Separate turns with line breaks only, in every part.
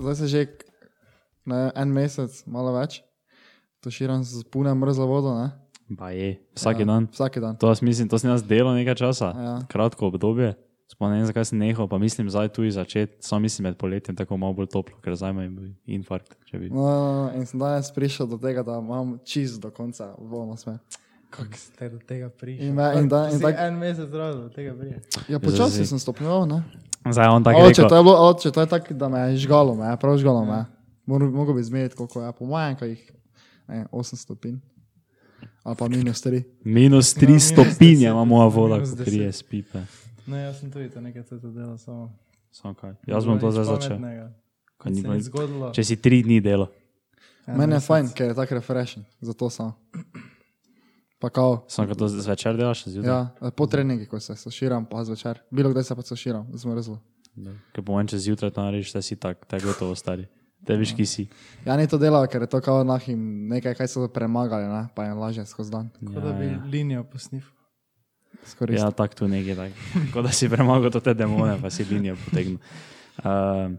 zdaj se že ne, en mesec, malo več, tuširam z punem mrzlo vodo. Ne?
Ba je, vsak ja. dan.
Vsak dan.
To jaz mislim, to sem jaz delal nekaj časa,
Ja.
kratko obdobje. Sploh ne vem, zakaj sem nehal, pa mislim, zdaj tu začeti, samo mislim med poletjem tako malo bolj toplo, ker zdaj imam infarkt. če bi-
No, no, no, in sem danes prišel do tega, da imam čist do konca volno smer.
Kako ste do tega prišli?
In me- in da- in
Si
tak-
En mesec zraven do tega prišli.
Ja,
Zdaj
počasi
si-
sem stopnjeval, ne?
Zdaj je on tako
Oče,
reče.
to je bilo, oče, to je tako, da me je žgalo, me je prav žgalo, me je. Moral- Mogo bi zmeriti, koliko je, po mojem, kaj jih, ne, vem, 8 stopinj. Ali pa minus 3.
Minus
Ja,
3
minus
stopinje
10,
ima moja voda,
minus
ko krije
10.
spipe.
No, jaz sem tudi to nekaj cesta delal, samo.
Samo kaj. Jaz bom to zdaj začel. Ko ni
Ni se
bilo
ni
nič-
zgodilo. Ja,
Če si 3 dni delal,
En
Meni je
mesec.
fajn, ker je tako refreshen, zato sem. Pa kao,
samo ko to zvečer delaš, zjutraj.
ja, po treningu, ko se suširam, pa zvečer. Bilo kdaj se pa suširam, zmrzlo.
Ja. Ker po mojem, če zjutraj to narediš, te si tak, te gotovo stari. Te veš, ki si.
Ja, ni to delal, ker je to kao nahim nekaj, kaj so premagali, ne? pa je lažje skozi dan.
Kot da
Ja,
bi
ja.
linijo posnil.
Skoraj.
ja tako tu nekje tako. Kot da si premagal to te demone, pa si linijo potegnil. Uh,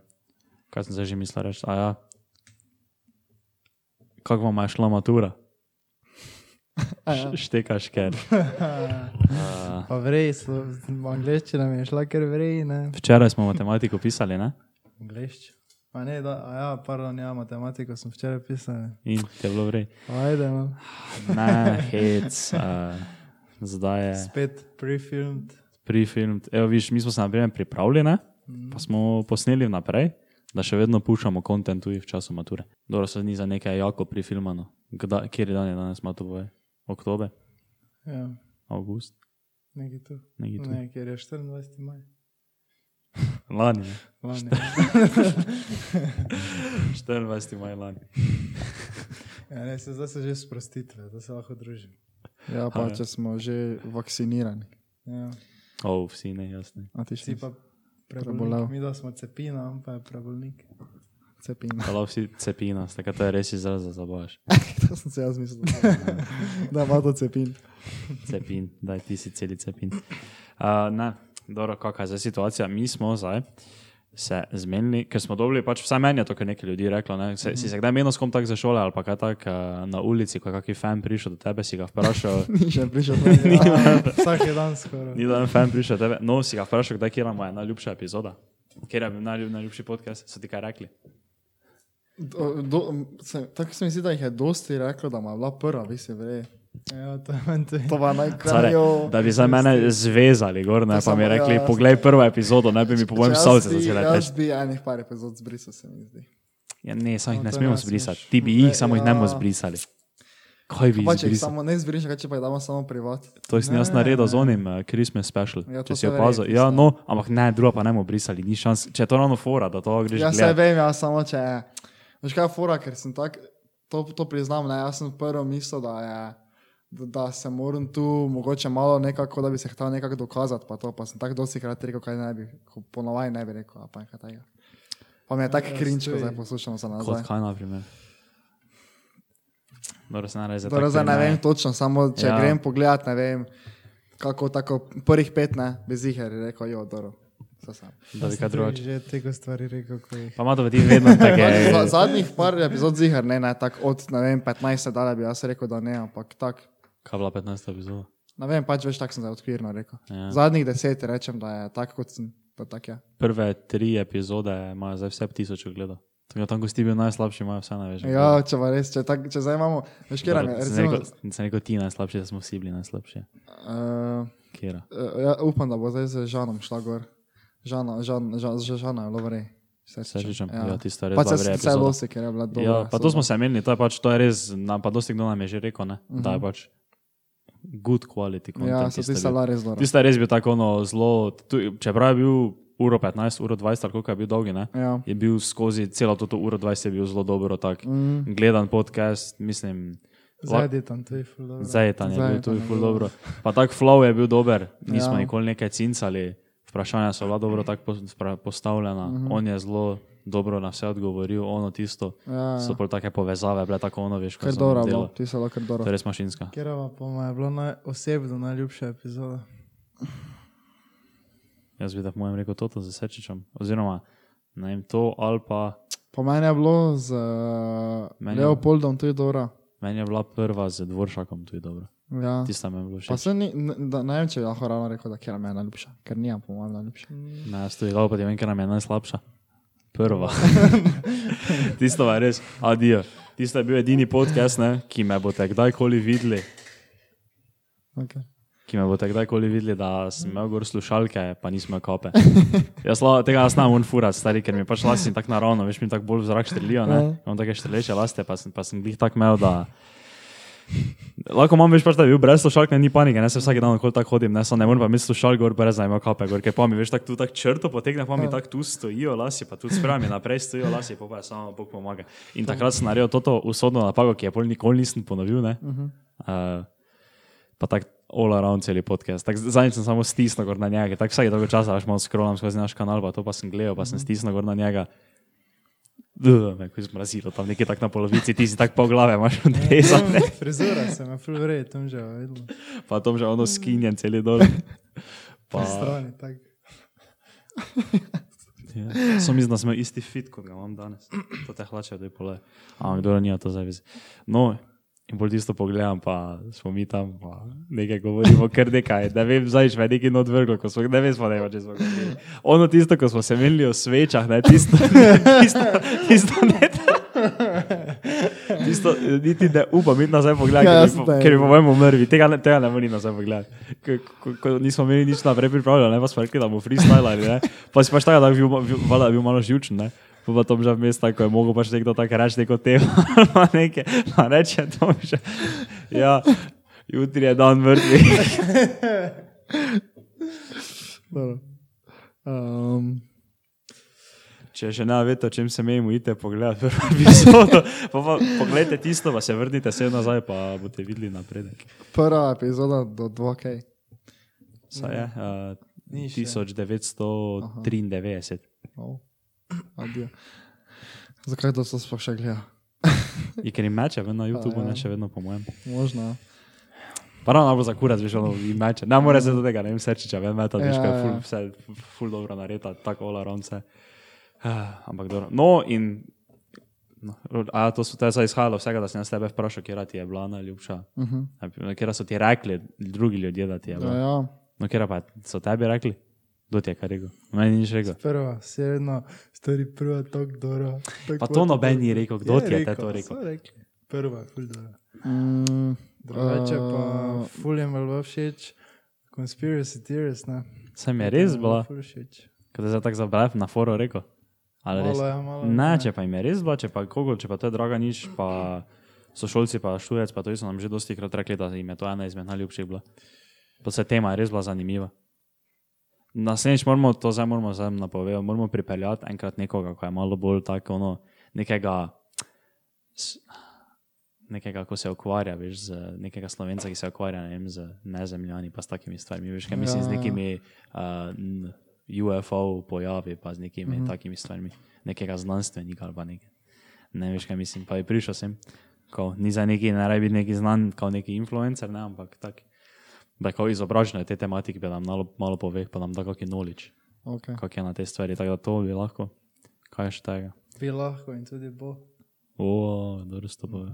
kaj sem zdaj že mislil reči? A ja. Kako vam je šla matura?
Ja.
Š- Štekaš, ker. Uh,
Pa vrej, slo- angliščina mi je šla, ker vrej, ne.
včeraj smo matematiko pisali, ne?
Angliščina. Pa ne, da, a ja, pardon, ja, matematiko sem včeraj pisal. ne.
In te je bilo vrej.
Ajde, no.
Ne, hec. Uh, zdaj je.
Spet prefilmed.
prefilm. Evo, viš, mi smo se na primer pripravili, ne? pa smo posneli naprej, da še vedno puščamo kontent tudi v času mature. Dobro, se ni za nekaj jako prifilmano. Kdaj, kjer dan je danes mature? Oktober,
Ja,
avgust,
nekaj tu.
nekaj tu.
Ne, ker je 24. maj.
Lani, ne?
Lani.
24. maj lani.
Ja, ne, se zdaj se že sprostitve, da se lahko družim.
Ja, pa
Aha.
če smo že vakcinirani.
Ja.
O, oh, vsi ne, jasni.
A ti
Vsi
si pa
pa prebolel.
Prebolel.
Mi da smo cepina, on pa je prebolnik.
cepim.
Hvala vsi cepina, tako to je res izraz za zabavaš.
to sem se jaz mislil. da ima to cepim.
Cepin, daj ti si celi cepin. Uh, ne, dobro, kakšna je zdaj situacija? Mi smo zdaj se zmenili, ker smo dobili, pač vsaj meni je to, kar nekaj ljudi reklo. Ne? Se, si se kdaj menil s kom tak za šole ali pa kaj tak uh, na ulici, ko je kakšen fan prišel do tebe, si ga vprašal.
Ni še prišel.
Ja, vsak je dan skoraj.
Ni da en fan prišel do tebe, no si ga vprašal, kdaj kje je moja najljubša epizoda. Ker je bil najljub, najljubši podcast, so ti kaj rekli.
Do, do, se, tako se mi zdi, da jih je dosti reklo, da mu je bila prva, vi si verjeli.
Ja, to je meni tudi.
To pa
Care,
najkrajo.
da bi za mene zvezali, gor, ne,
To
pa mi
samo-
rekli,
ja, ja.
poglej prvo epizodo, ne bi mi po mojem solce začele teči.
Jaz bi enih par epizod zbrisal, se mi zdi.
Ja, ne, samo jih
No,
ne
to
smemo
ne smeš.
zbrisati, ti bi jih,
Ne,
samo jih ne bomo
ja.
zbrisali. Kaj bi
Pa
jih
če jih
zbrisali?
samo ne zbrišeš, kaj če pa jih damo samo privat.
To sem jaz
Ne,
naredil
ne.
z onim eh, Christmas special,
Ja, to
če si
so
opazil.
verjetno,
Ja,
ja.
no, ampak ne, druga pa ne bomo brisali, ni šans. Če je to ravno fora, da to greš
Ja, se
gledati.
vem, ja, samo če je. Veš kaj, je fora, ker sem tak, to, to priznam, ne, jaz sem prvo mislil, da je. Da, da se moram tu mogoče malo nekako, da bi se hotel nekako dokazati, pa to pa sem tako dosti krat rekel, kaj naj bi, ko ponovaj ne bi rekel, a pa nekaj tega. Pa mi je tako
Ja,
krinčko,
stoj.
zdaj poslušamo se nazaj.
Kot kaj, na primer. Dobro, se naredi za
Dobro, zdaj ne vem točno, samo če
Ja.
ja. grem pogledat, ne vem, kako tako prvih pet ne, bez jih je rekel, jo, dobro, vse sam.
Da bi
Jaz sem
kaj
tudi
Ja, drugače.
Že tega stvari rekel, ko jih.
Pa ima to v ti vedno
Pač za-
tako.
Zadnjih par epizod zihar, ne, ne, tako od ne vem, 15 dala bi jaz rekel, da ne, ampak tako.
Kaj je bila 15. epizoda?
Ne vem, pač veš, tako sem zdaj odkvirno rekel.
Ja.
Zadnjih deset rečem, da je tako, kot sem, da tak je.
Prve tri epizode imajo zdaj vse tisoč ogledov. Tako Tam, ko si ti bil najslabši, imajo vse največ.
Ja, če pa res, če, tak, če zdaj imamo, veš, kje nam je, recimo,
Sem rekel ti najslabši, da smo vsi bili najslabši.
uh,
Kjera?
ja, upam, da bo zdaj z Žanom šla gor. Žana, Žan, Žan, z Žana je bilo vrej.
Se rečem, ja, tista res
Pač
dobra
se vse
epizoda.
losi, ker je bila dobra.
Ja, pa to
so-
smo se menili, to je pač, to je res, nam pa dosti kdo nam je že rekel, ne, da je pač good quality
Mhm. Ja,
content.
so
tista
tista
bil.
bila res dobra.
Tista je res bil tako ono zelo, tu- čeprav je bil uro 15, uro 20, ali koliko je bil dolgi, ne,
Ja.
je bil skozi celo to, to uro 20 je bil zelo dobro tak
Mm.
gledan podcast, mislim. la-
Zajdi tam tudi fuldo.
Zajetan je bil
Zajetan
tudi
je
ful
bil.
dobro. Pa tak flow je bil dober, nismo ja.
Ja.
nikoli nekaj cincali, vprašanja so bila dobro tako pos- spra- postavljena,
Mhm.
mm -hmm. on je zelo dobro na vse odgovoril, ono tisto,
Ja,
so
ja.
prav take povezave, bile tako ono veš,
Kar no.
kaj se
dobro, je bilo,
dela.
ti so bila kar
To je
dobro.
res mašinska.
Kjerava pa mu je bila naj, osebno najljubša epizoda.
Jaz bi da po mojem rekel to za sečičem, oziroma ne vem to ali pa
Po meni je bilo z uh,
Meni je-
Leopoldom tudi dobro.
Meni je bila prva z dvoršakom, to je dobro.
Ja.
Tista meni je bila
Pa
všeč.
se ni, n- da, ne vem, če bi lahko ravno rekel, da je meni najljubša, ker nijam po mojem najljubša.
Ne, jaz tudi lahko povem, ker nam je najslabša. Prva. Tisto je res, adijo. Tisto je bil edini podcast, ne, ki me boste kdajkoli videli.
Okay.
Ki me boste kdajkoli videli, da sem imel gor slušalke, pa nismo kope. Jaz la, tega jaz nam unfurat, stari, ker mi pač lasti tako naravno, veš mi tako bolj v zrak štrlijo, ne. Imam take štrleče laste, pa sem, pa sem jih tako imel, da... Lahko imam več pač, da bi bil brez slušalk, ne, ni panike, ne se vsak dan okoli tako hodim, ne, samo ne morem pa misliti slušalk gor brez najma kape, gor, ker pa mi veš tako tu tak črto potegne, pa mi tako tu stojijo lasi, pa tu sprami naprej stojijo lasi, pa pa je samo Bog pomaga. In takrat sem naredil toto usodno napako, ki je pol nikoli nisem ponovil, ne. Uh, pa tako all around celi podcast. Tak, zadnjič sem samo stisnil gor na njega, ker tako vsake dolgo časa veš malo scrollam skozi naš kanal, pa to pa sem gledal, pa sem stisnil gor na njega. Neko izmrazilo, tam nekje tako na polovici, ti si tako pol glave, imaš odrezane.
Frizura se me ful vredi, tam že videl.
Pa tam že ono skinjen, cel dol. Pa,
Na strani, tako.
ja. Sem mislil, da smo isti fit, kot ga imam danes. To te hlače, da je pole. Ampak kdo ni to zavezi. No, in bolj tisto pogledam, pa smo mi tam, pa nekaj govorimo, kar nekaj. Ne vem, zdaj me je nekaj odvrglo, ko smo, ne vem, smo ne več, če smo govorili. Ono tisto, ko smo se menili o svečah, ne tisto, tisto, tisto ne. Tisto, eh, niti ne upam, niti nazaj pogledati,
Ja,
ja,
jasno, da je.
ker bi po mojem umrli. Tega, ne- tega ne morem nazaj pogledati. Ko, ko, ko nismo imeli nič naprej pripravljeno, ne pa smo rekli, da bomo freestylali. ne. Pa si pač tako, da bi bil, ma- bil- valjda je bil malo živčen. Ne? Pa pa tam že vmes tako je mogel pač nekdo tako reči neko temo. pa nekaj, pa reče to že. Ja, jutri je dan mrtvih.
Um,
Če še ne veste, o čem se menimo, idite pogledat prvo epizodo. Pa, pa, poglejte tisto, pa se vrnite se nazaj, pa boste videli napredek.
prva epizoda do 2K.
Saj je,
Mhm.
Ni
uh,
še.
1993.
Oh. Zakaj to so sploh še gledali?
Je ker jim meče, vedno na YouTubu,
ja.
ne še vedno po mojem.
Možno. ja.
Pa ravno bo za kurat, veš, ono jim meče. Ne more se do tega, ne vem, srčiča, vem, meta, veš,
Ja,
kaj je ful,
ja.
vse ful dobro nareta, tako all around se. Ah, Ampak dobro. No in, no, a to so te zdaj izhajalo vsega, da sem jaz tebe vprašal, kera ti je bila najljubša. Uh -huh. Kera so ti rekli drugi ljudje, da ti je
Mhm. Ja,
bila.
ja.
No, kera pa so tebi rekli? Kdo ti je kaj rekel? Meni nič rekel.
Prva, si vedno stori prva tako dobro.
Pa to noben ni rekel, kdo ti je te to rekel.
so rekli. Prva, je ful dobro.
Mm,
Drugače pa
eh,
ful je malo všeč. Conspiracy theories, ne.
Saj mi je res
To mi
bila,
ful všeč.
ko te zdaj tako zabrav na foro rekel. Ali res?
Malo ja, je, malo je,
Ne, če pa jim je res bila, če pa kogo, če pa to je draga nič, pa sošolci, pa študec, pa to so nam že dosti krat rekli, da jim je to ena izmed najljubših bila. Pa se tema je res bila zanimiva. Naslednjič moramo to zdaj, moramo zdaj napovedati, moramo pripeljati enkrat nekoga, ki je malo bolj tako, ono, nekega, s- nekega, ko se ukvarja, veš, z nekega slovenca, ki se ukvarja, ne vem, z nezemljani, pa s takimi stvarmi, veš, kaj mislim,
Ja,
z
ja.
nekimi uh, n- UFO pojavi, pa z nekimi
Mhm.
takimi stvarmi, nekega znanstvenika ali pa nekaj. Ne veš, kaj mislim, pa je prišel sem, ko ni za neki, ne rabi biti neki znan, kot neki influencer, ne, ampak tak. Da, ko izobražene te tematike, da nam malo, malo pove, pa nam da kakšen nolič,
okay.
kak je na te stvari, tako da to bi lahko, kaj je še tega.
Bi lahko in tudi bo.
O, dobro s toboj.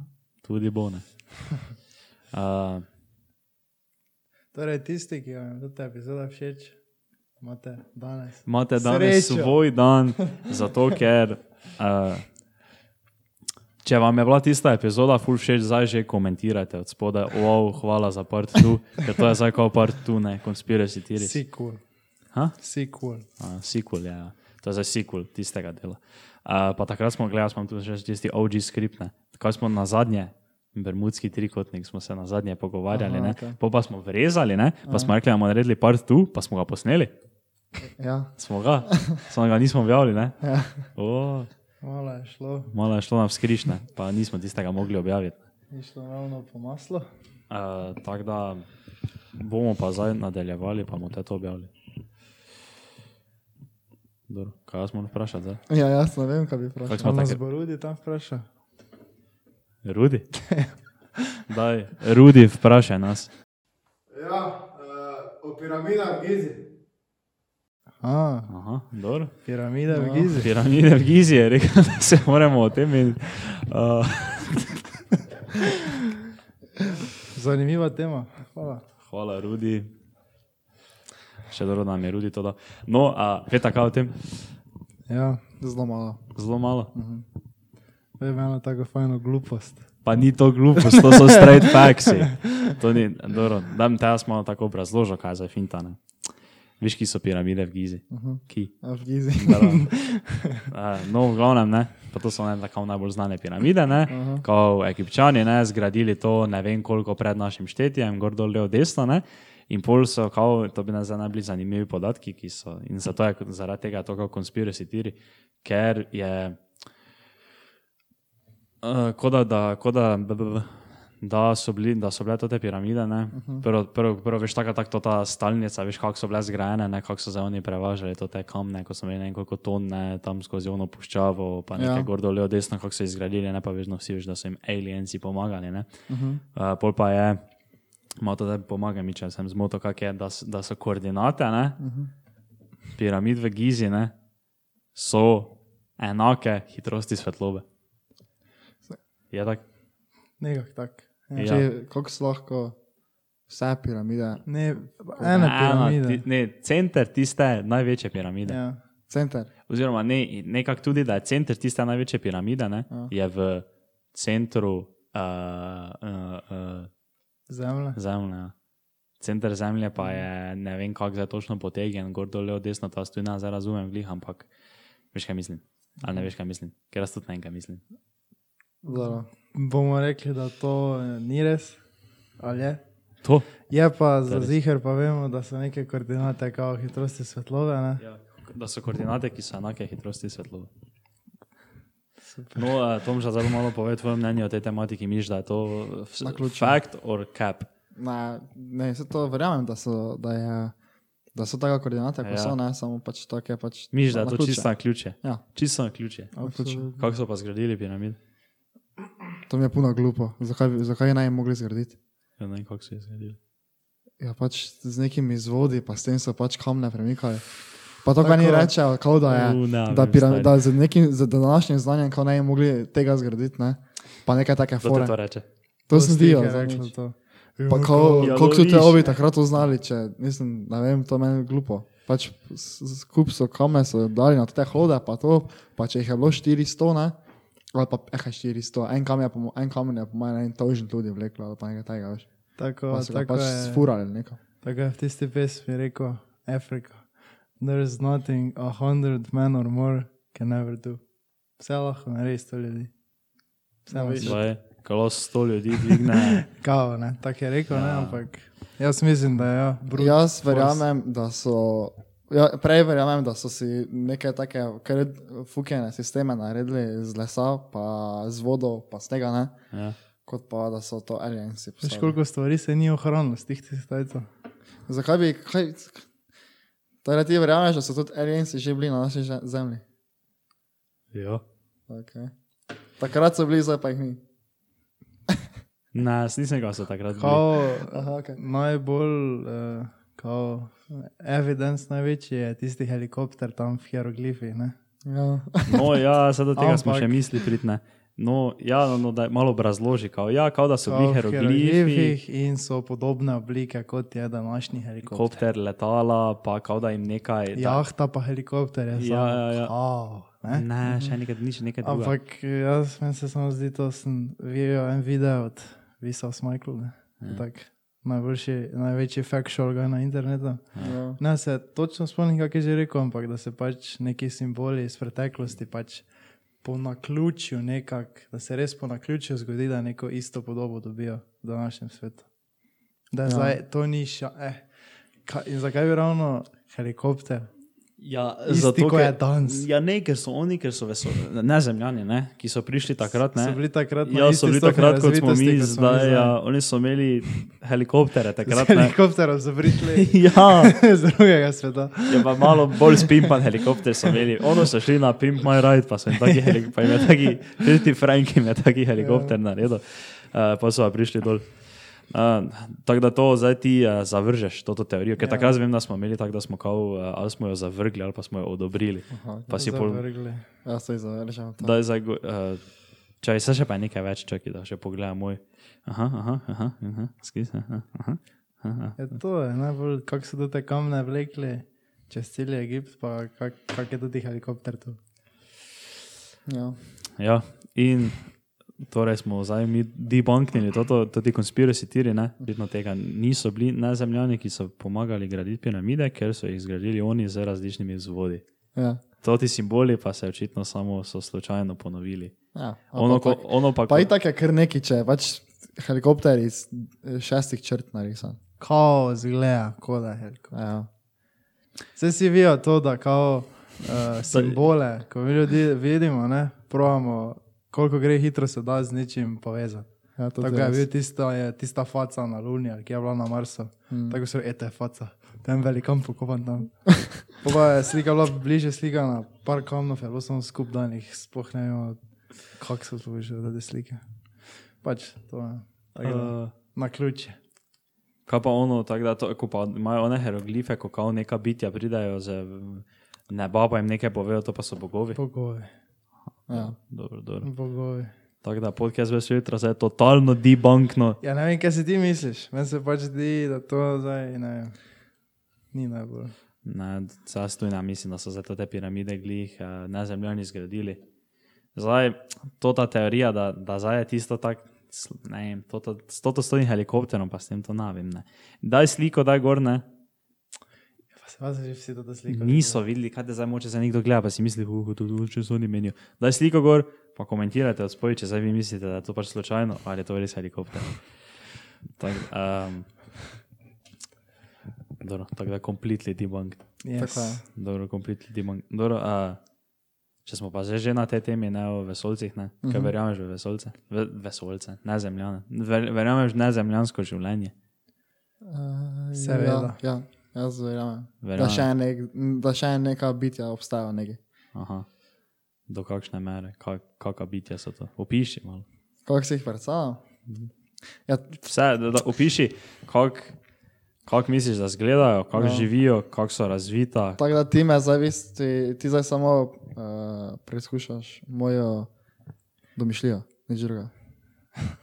Tudi bone. Uh,
Torej, tisti, ki vam je ta epizoda všeč, imate danes.
imate danes
Srečo.
Srečo. svoj dan, zato ker uh, če vam je bila tista epizoda full všeč, zdaj že komentirajte od spodaj, wow, hvala za part tu, ker to je zdaj kot part tu, ne, konspiracy theories.
Sequel.
Ha?
Sequel.
Uh, sequel, ja, ja. To je za sequel tistega dela. Uh, pa takrat smo gledali, smo tudi že tisti OG skriptne. Tako smo na zadnje, bermudski trikotnik, smo se na zadnje pogovarjali, Aha, okay. pa, pa smo vrezali, ne? pa smo rekli, da bomo naredili part tu, pa smo ga posneli.
ja.
Smo ga, samo ga nismo objavili. ne.
Ja.
O,
Malo je šlo,
malo je šlo nam skrišne, pa nismo tistega mogli objaviti.
ni šlo ravno po maslu.
Uh, Tako da bomo pa zdaj nadaljevali, pa bomo te to objavili. Dobro, kaj jaz moram vprašati zdaj?
ja, jaz ne vem, kaj bi vprašal.
Kako smo
Tam nas
takrat?
bo Rudi tam vprašal.
Rudi. Daj, Rudi, vprašaj nas.
Ja, uh, o piramidah v Gizi.
A,
Aha, dobro.
piramida
No.
Ja.
v Gizi.
Piramide v Gizi je rekel, da se moramo o tem meniti. Uh,
Zanimiva tema. Hvala.
hvala, Rudi. Še dobro, da nam je Rudi to dal. No, a veš, kaj o tem?
Ja,
Zelo malo.
Zelo malo.
vem eno tako fajno glupost.
Pa ni to glupost, to so straight facts. To ni, dobro, da mi te jaz malo tako obrazložil, kaj je za fintane. Veš, ki so piramide v Gizi. Ki?
A v Gizi.
Uh, no, v glavnem, ne. Pa to so ne, tako najbolj znane piramide, ne, uh -huh. ko egipčani ne, zgradili to ne vem koliko pred našim štetjem, gor dol levo desno. Ne, in pol so, kao, to bi nas zdaj najbolj zanimivi podatki, ki so. In zato je zaradi tega to kot konspiracy tiri, ker je. Uh, kot da, da, ko da, b- b- b- da, so bili, da so bile to te piramide. ne. Prvo, prvo, prvo veš, tako tak, ta stalnica, veš, kako so bile zgrajene, ne, kako so za oni prevažali to te kamne, ko so imeli ne, koliko ton ne, tam skozi ono puščavo, pa nekaj
Ja.
ja. gor dol, levo, desno, kako so izgradili, ne pa vedno vsi veš, da so jim alienci pomagali. ne. Uh, pol pa je, malo to zdaj pomaga mi, če sem zmotil, kako je, da, s- da so koordinate, ne, piramid v Gizi, ne, so enake hitrosti svetlobe. Je tako?
Nekak tak. Ja.
Ja.
Če- Kako so lahko vse piramide,
Ne, ena piramida.
ti, ne, center tiste največje piramide. Ja.
Ja.
center.
Oziroma, ne, nekako tudi, da je center tiste največje piramide, ne, ja. je v centru uh, uh, uh,
Zemlja.
zemlje. ja. Center zemlje pa je, ne vem, kako zdaj točno potegnjen, gor dol, levo, desno, to jaz tudi ne zdaj razumem, glih, ampak veš, kaj mislim. Ali ne veš, kaj mislim, ker jaz tudi ne vem, kaj mislim.
Zelo.
Bomo rekli, da to eh, ni res, ali je.
To.
Je pa za
res.
zihar, pa vemo, da so neke koordinate, kao hitrosti svetlove. Ne?
Ja, da so koordinate, ki so enake hitrosti svetlobe. No, eh, Tom, že zelo malo pove tvoje mnenje o tej tematiki, misliš, da je to vs-
Naključno.
fact or cap?
Ne, ne, se to verjamem, da so, da je, da so taka koordinata, kot
Ja.
ja. so, ne, samo pač take pač.
Misliš, da je to
naključje.
čisto na ključe?
Ja,
Čisto na ključe.
naključje.
Absolutno.
Kako so pa zgradili piramid?
to mi je puno glupo. Zakaj, bi- zakaj naj bi mogli zgraditi?
Ja, ne vem, kako so jih zgradili.
Ja, pač z nekimi izvodi, pa s tem so pač kamne premikali. Pa to, kar
Tako.
ni rečejo, kao da je,
U, ne
da,
vem,
piram,
stari.
da z nekim z današnjim znanjem, kao naj bi mogli tega zgraditi, ne. Pa nekaj take
Kdo ti
fore.
to reče?
To sem videl,
Stiher
zdaj
reklo
nič.
to.
Pa
Ja,
ko-
Ja,
Koliko so te
loviš.
ovi takrat to znali, če mislim, ne vem, to meni glupo. Pač s- s- skup so kamne, so dali na te hode, pa to, pa če jih je bilo 400, ne, ali pa eh, 400, en kamen je po mo- en kamen je po mojem en tožen ljudi vleklo, ali pa nekaj tega, veš.
Tako,
Pa so ga
Ja, tako,
pač
je,
sfurali ali nekaj.
tako je v tisti pesmi rekel Afrika. There is nothing a hundred men or more can ever do. Vse lahko naredi sto ljudi. Vse
No,
no,
veš.
Zdaj, Kalo sto ljudi dvigne.
Kao, ne? Tako je rekel, ja. ne,
Ja.
ampak jaz mislim, da je ja, brut.
Jaz verjamem, da so. Ja, prej verjamem, da so si neke take kar fukene sisteme naredili iz lesa, pa z vodo, pa snega, ne,
Ja.
kot pa da so to alienci.
Veš,
postavili.
koliko stvari se ni ohranilo s tih tistajcev.
Zakaj bi, kaj, torej ti verjameš, da so tudi alienci že bili na naši že- zemlji?
Jo.
Okay. Takrat so bili, zdaj pa jih ni.
Ne, jaz nisem ga so takrat videl.
Kao,
Aha, okay.
najbolj eh, kao, evidence največji je tisti helikopter tam v hieroglifih. ne.
ja.
No, ja, sedaj do tega smo
Ampak-
še misli pridne. No, ja, no, no, da malo obrazloži, kao, ja, kao da so bili
Kao v
hieroglifi.
hieroglifih in so podobne oblike kot je današnji helikopter.
Kopter, letala, pa kao da jim nekaj. da-
Jahta pa helikopter je
Ja,
samo
ja, ja.
kao, Ja, ne.
Ne, še nekaj, nič nekaj. drugega.
Ampak jaz meni se samo zdi, da sem videl en video od Visa Smajklu.
Ja.
Najboljši, največji factual guy na internetu.
Ja.
Ne, se točno spomnim, kaj je že rekel, ampak da se pač neki simboli iz preteklosti pač po naključju nekako, da se res po naključju zgodi, da neko isto podobo dobijo v današnjem svetu. Da ja. zdaj to ni še. Eh, ka, in zakaj bi ravno helikopter?
Ja,
Isti, ko je danes.
Ja, ne, ker so oni, ker so vesolje, ne zemljani, ne, ki so prišli takrat. Ne.
So bili takrat na
ja,
isti
so bili
stopnji
takrat, kot smo
razvitosti,
mi
kot smo mi
zdaj.
zdaj.
Ja, oni so imeli helikoptere takrat.
Z
Ne.
helikopterom so prišli
Ja,
z drugega sveta.
je pa malo bolj spimpan helikopter so imeli. Oni so šli na Pimp My Ride, pa so jim taki helikopter, pa jim Eh, je taki, Filti Frank jim je taki helikopter naredil, uh, pa so pa prišli dol. Uh, tako da to zdaj ti uh, zavržeš, to teorijo. Ker ja. takrat vem, da smo imeli tako, da smo kao, uh, ali smo jo zavrgli, ali pa smo jo odobrili.
Aha,
Pa si pol,
Zavrgli.
Ja, se završam.
da je zdaj. go- Uh, Če se še pa je nekaj več, čakaj, da še pogledam moj. Aha, aha, aha, aha, skis, aha, aha, aha.
Ja, to je najbolj, kako so do te kamne vlekli čez cel Egipt, pa kak, kak je tudi helikopter tu.
Ja.
Ja, in torej smo zdaj mi debunknili to, tudi konspiracy tiri, ne, vedno tega niso bili nezemljani, ki so pomagali graditi piramide, ker so jih zgradili oni z različnimi vzvodi.
Ja.
To ti simboli pa se očitno samo so slučajno ponovili.
Ja.
Ono,
Ampak
ko,
tako-
ono pa,
Pa
ko,
itak je kar neki, če je pač helikopter iz eh, šestih črt narisan.
Kao zgleda, kot da je helikopter.
Ja.
Vse si vijo to, da kao uh, simbole, ko mi ljudi vidimo, ne, pravimo, koliko gre hitro se da z nečim povezati.
Ja, to
Tako
je
je
res.
bil tista, je, tista faca na Luni, ali ki je bila na Marsu. Mm. Tako so ete faca, tam velikan pokopan tam. Po pa je slika bila bliže slikana, par kamnov je bilo samo skup danih, sploh ne vemo, kako so to že te slike. Pač to je. Tako da,
Uh,
na ključe.
kaj pa ono, tako da to, ko pa imajo one hieroglife, ko kao neka bitja pridajo z mm, neba, pa jim nekaj povejo, to pa so bogovi.
Bogovi,
Ja.
Dobro, dobro.
bogovi.
Tako da podcast več jutra zdaj je totalno debunkno.
Ja, ne vem, kaj si ti misliš. Meni se pač zdi, da to zdaj ne vem. Ni najbolj.
Ne, Jaz tu ne ja, mislim, da so zato te piramide glih eh, nezemljani zgradili. Zdaj, to ta teorija, da, da zdaj je tisto tako, sl- ne vem, to ta- s to stojim helikopterom, pa s tem to navim. Ne. Daj sliko, daj gor, ne.
Ja, Pa se vas že vsi to slikajo.
Niso videli, kaj te zdaj moče za nekdo gleda, pa si misli, uh, to je če so oni menijo. Daj sliko gor, pa komentirajte od spoji, če zdaj vi mislite, da je to pač slučajno ali je to res helikopter. Tako um, dobro, tako da completely debunked.
Yes.
Tako je.
Dobro, kompletni dimon. Dobro, a, če smo pa zdaj že na tej temi, ne o vesolcih, ne? kaj verjameš v vesolce? Ve, vesolce, ne zemljane. Ver, verjameš v nezemljansko življenje.
Eh,
Seveda.
Ja, ja, jaz verjamem. Da
Verjamem.
še, nek, da še neka bitja obstajajo nekje.
Aha. Do kakšne mere, Kaj, kakšna bitja so to? Opiši malo.
Kako si jih predstavljal? Ja,
Vse, da, da opiši, kako kak misliš, da izgledajo, kako
Ja.
no. živijo, kako so razvita.
tako da ti me zdaj, vis- ti, ti zdaj samo uh, preizkušaš mojo domišljijo, nič drugega.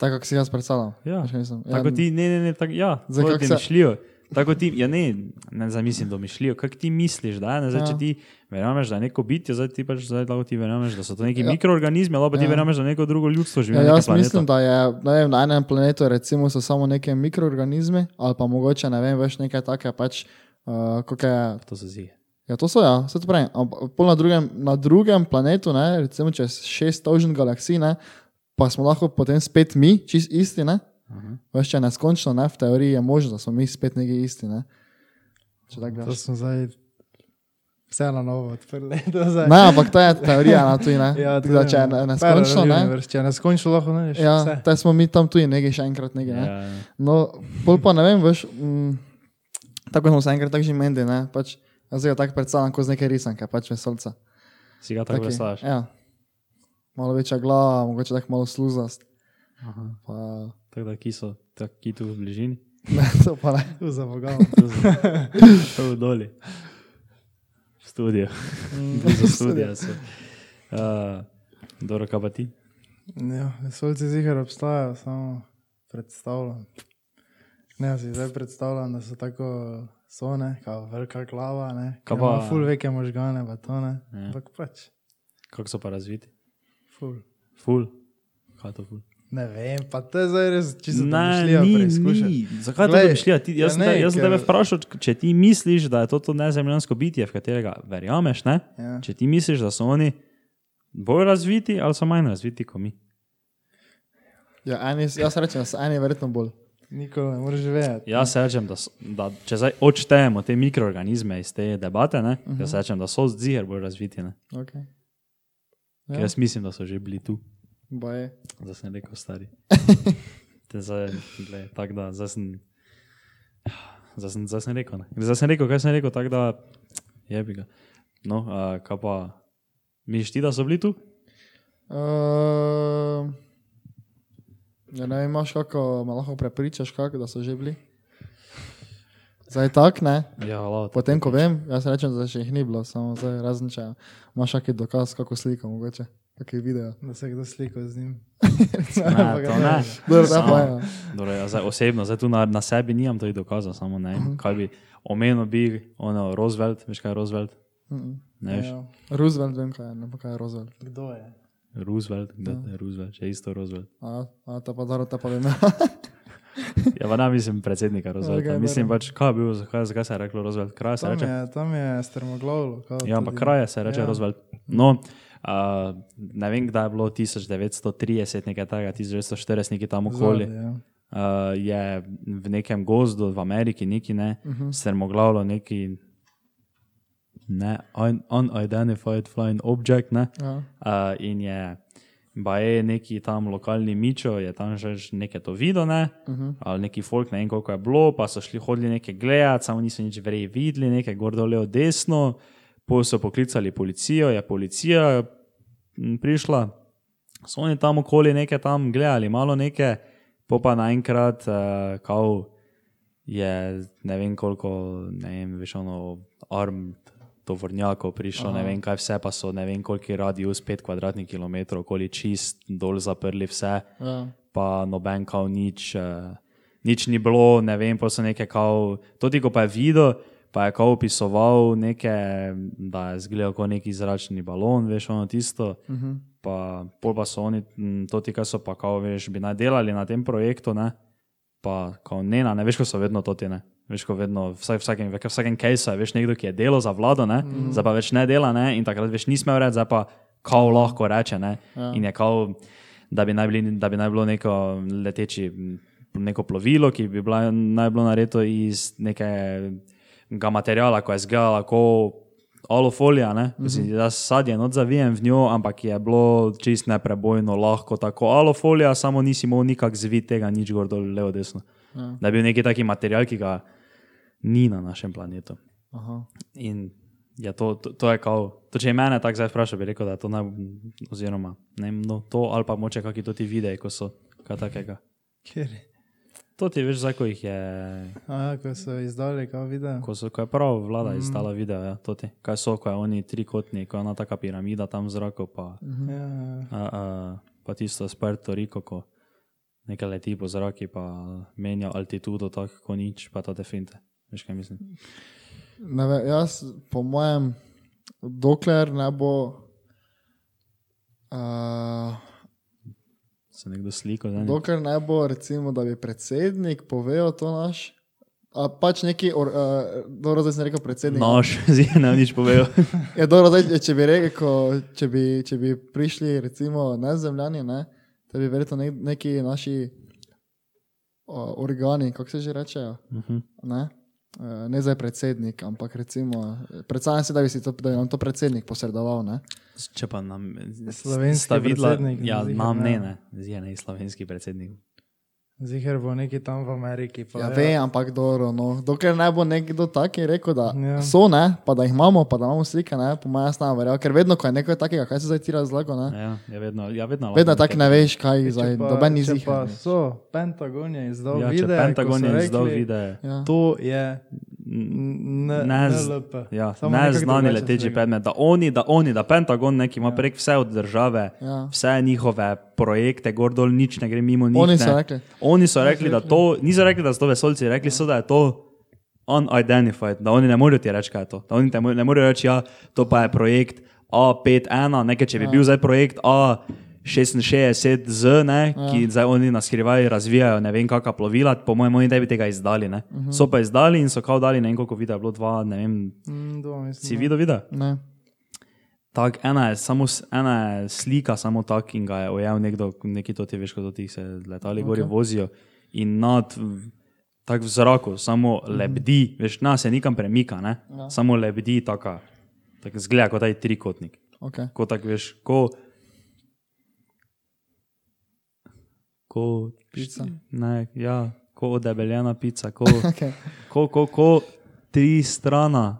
Tako, kako si jaz predstavljal.
Ja.
Še nisem.
Tako
ja,
ti, ne, ne, ne, tako, ja,
Zdaj,
zelo
kako se-
domišljijo. Tako ti, ja, ne, ne zamislim domišljijo, kako ti misliš, da je, ne, zdaj,
Ja.
če ti verjameš, da je neko bitje, zdaj ti pač zdaj lahko ti verjameš, da so to neki
Ja.
ja. mikroorganizmi, ali pa
Ja.
ti ja. verjameš, da neko drugo ljudstvo živi.
Ja,
na nekem
jaz
planetu.
mislim, da je ne vem, na enem planetu recimo, so samo neke mikroorganizme, ali pa mogoče ne vem, več nekaj takega. Pač, uh, kako je-
To so zige.
ja, to so ja, se to pravi. Ampak pol na drugem, na drugem planetu, ne, recimo čez šest tožen galaksij, ne, pa smo lahko potem spet mi, čist isti. Ne,
Mhm.
veš, če je neskončno, ne, v teoriji je možno, da smo mi spet neki isti. Ne. Če tako
To
gledaš.
smo zdaj vse na novo odprli. to zdaj.
Ne, ampak to je teorija, na tuji, ne.
Ja, to
Tako da,
ne
če je
vem.
ne- neskončno,
Parallel
ne.
universe, Če je neskončno, lahko najdeš vse.
Ja, te smo mi tam tudi nekaj še enkrat nekaj. Ne.
Ja,
No, bolj pa ne vem, veš, mm, tako kot smo se enkrat tako že menili, ne, pač, jaz ga tako predstavljam kot z neke risanke, pač vesolca.
si ga tako
Taki,
predstavljaš.
Ja. Malo večja glava, mogoče tako malo sluzast.
Aha.
Pa,
Tako da ki so taki tu v bližini,
ne, to pa ne.
Tu za Boga.
tu so tu doli. V studiu.
Mm,
Blizu studia so. Uh, Dobro, kaj pa ti?
Ja, vesolci zihar obstajajo, samo predstavljam. Ne, jaz si zdaj predstavljam, da so tako so, ne, kao velika glava, ne.
Kaj
Kaj
pa- Ja.
pa? Ful veke možgane, pa to ne. Ampak pač,
Kako so pa razviti?
ful.
Ful. Kaj je to ful?
Ne vem, pa to je zdaj res čisto
Ne,
domišljija
ni,
preizkušati.
ni. Zakaj
Glej,
to mišlja? Ti, jaz
ja
sem
ne,
te- jaz sem
ker-
tebe vprašal, če- če ti misliš, da je to, to nezemljansko bitje, v katerega verjameš, ne?
Ja.
Če ti misliš, da so oni bolj razviti ali so manj razviti kot mi.
Ja, eni, jaz rečem, da so eni verjetno bolj.
Nikoli ne moreš vedeti.
Jaz rečem, da, so- da če zdaj odštejemo te mikroorganizme iz te debate, ne? Uh -huh.
Mhm.
Jaz rečem, da so ziger bolj razviti, ne?
Okay.
Ja.
Ja.
Jaz mislim, da so že bili tu.
Baje.
Zdaj sem rekel stari. Te Zdaj, glej, tako da, zdaj sem, zdaj sem, zdaj sem rekel. Ne. Zdaj sem rekel, kaj sem rekel, tako da je bi ga. No, a, kaj pa, misliš ti, da so bili tu?
Uh, Ehm, Ja, ne, vem, imaš kako, me lahko prepričaš, kako, da so že bili. Zdaj tak, ne?
Ja, hvala.
Potem, ko vem, jaz rečem, da še jih ni bilo, samo zdaj razen če imaš kakšen dokaz, kako sliko, mogoče, kakšen video.
da se je kdo slikal z njim.
Ne, to ne.
Dobro, zdaj pa
Samo-
ja.
Dobro, ja, zdaj, osebno, zdaj tu na, na sebi nimam teh dokazov, samo ne vem, kaj bi omenil, bi ono Roosevelt, veš kaj je Roosevelt? Ne veš,
Ja,
Roosevelt, vem kaj, je, ne pa kaj je Roosevelt.
kdo je?
Roosevelt, kdo je Roosevelt, še isto Roosevelt.
A, a ta pa dobro, ta pa vem.
Ja, pa ne mislim predsednika Roosevelta,
Okej,
mislim pač, kaj je bil, zakaj, zakaj se je reklo Roosevelt, kraj se
Tam
reče.
je, tam je strmoglavilo. kao
Ja, ampak
tudi.
kraje se reče
Ja.
ja. Roosevelt. No, uh, ne vem, kdaj je bilo 1930, nekaj takega, 1940, nekaj tam okoli.
Zadaj, ja.
uh, je v nekem gozdu v Ameriki, neki ne, uh -huh. strmoglavilo neki ne, un unidentified flying object. Ne,
Ja.
uh, in je, baje neki tam lokalni mičo, je tam že že nekaj to videl, ne, uh -huh. ali neki folk, ne vem koliko je bilo, pa so šli hodili nekaj gledati, samo niso nič verjeli videli, nekaj gor dol levo desno. Pol so poklicali policijo, je policija m, prišla, so oni tam okoli nekaj tam gledali, malo nekaj, po pa naenkrat, uh, kao je ne vem koliko, ne vem, veš, ono, arm tovornjakov prišlo, Aha. ne vem kaj vse, pa so ne vem koliko radius, 5 kvadratnih kilometrov, okoli čist, dol zaprli vse,
Ja.
pa noben kao nič, uh, nič ni bilo, ne vem, pa so neke kao, to ti ko pa je videl. Pa je kao opisoval neke, da je zgledal kot neki zračni balon, veš, ono tisto. Uh -huh. Pa pol pa so oni, m, to ti, kar so pa, kao, veš, bi naj delali na tem projektu, ne? pa kao ne, ne, veš, ko so vedno to ti ne. Veš, ko vedno, vsak, vsakem, v vsakem kajsu je veš nekdo, ki je delal za vlado, ne, mm. zdaj pa več ne dela ne, in takrat več nismo reči, zdaj pa kao lahko reče. Ne, ja. In je kao, da bi naj, bili, da bi naj bilo neko leteči, m, neko plovilo, ki bi bila, naj bilo narejeno iz nekega materijala, ko je zgala, ko alofolija, ne, mm -hmm. jaz sadje not zavijem v njo, ampak je bilo čist neprebojno lahko tako alofolija, samo nisi imel nikak zvit tega, nič gor dol, levo, desno. Ja. Da je bil neki taki material, ki ga ni na našem planetu.
Aha.
In ja, to, to, to je kao. To, če je mene tako zdaj vprašal, bi rekel, da je to naj, oziroma ne vem, no, to ali pa moče kakšni to ti videi, ko so kaj takega.
Kjer je?
To ti veš, zakaj jih je,
A, ja, ko so izdali, kao video.
ko, so, ko je prav vlada izdala video, ja, to ti. Kaj so, ko je oni trikotni, ko je ena taka piramida tam v zraku, pa,
Ja, ja.
a, a, pa tisto s Puerto Rico, ko nekaj leti po zraku, pa menja altitudo tako, ko nič, pa to te finte. Veš, kaj mislim?
Ne Ve, jaz, po mojem, dokler ne bo. Uh,
Se nekdo sliko, ne?
dokler ne bo, recimo, da bi predsednik povedal to naš. A pač neki, or, uh, dobro, zdaj sem rekel predsednik.
Nož, zdaj ne bom nič povedal.
Ja, dobro, zdaj, če bi rekel, če bi, če bi prišli, recimo, nezemljani, ne, te bi verjetno nek, neki naši o, organi, kako se že rečejo.
Uh -huh.
Ne, Eh, ne zdaj predsednik, ampak recimo, eh, predstavljam si, da bi, si to, da bi nam to predsednik posredoval. Ne?
Če pa nam eh,
Slovenski
sta videla-
predsednik,
ja,
ziher
nam
ne.
ne, ne, zdaj ne, slovenski predsednik.
Ziher bo neki tam v Ameriki. Pa,
Ja, ve, ampak dobro, no. dokler ne bo nekdo taki rekel, da
Ja.
ja. so, ne, pa da jih imamo, pa da imamo slike, ne, po mojem jaz ne verjamem, ker vedno, ko je nekaj takega, kaj se zdaj tira zlago, ne,
Ja, ja, vedno, ja, vedno,
vedno
lahko
tako ne veš, kaj
Če
zdaj,
pa-
doben ni
če
zih.
Pa so, Pentagon je izdal
Ja, če
video. ko
Pentagon
so
je izdal
rekli,
videe.
Ja.
To je
Ne,
ne,
z-
NLP.
ja,
Samo
ne
nekako
znani
drugače se
leteči
ga-
predmet, da oni, da oni, da Pentagon neki ima ja. prek vse od države,
Ja.
vse njihove projekte, gor dol, nič ne gre mimo njih.
Oni
ne.
so rekli.
Oni so rekli, da to, niso rekli, da so to vesolci, rekli ja. so, da je to unidentified, da oni ne morejo ti reči, kaj je to. Da oni te mo- ne morejo reči, ja, to pa je projekt A51, nekaj, če bi ja. bil zdaj projekt A. 66Z, ne, ja. ki zdaj oni na skrivaj razvijajo, ne vem, kakšna plovila, po mojem, oni ne bi tega izdali. Uh
Mhm.
-huh. So pa izdali in so kao dali, ne vem, koliko videa, je bilo dva, ne vem,
Mm, dva, mislim,
si
Mhm.
da.
videl video?
Ne.
Tak, ena, je samo, s- ena je slika, samo tak in ga je ojel nekdo, neki to ti veš, kot ti se letali gori vozijo in nad, tako v zraku, samo lebdi, veš, nas se nikam premika, ne? Ja. samo lebdi, tako tak zgleda kot taj trikotnik.
Okay.
Ko tako veš, ko. Ko
Pica.
Ne, ja, ko odebeljena pica, ko,
Okay.
ko, ko, ko tri strana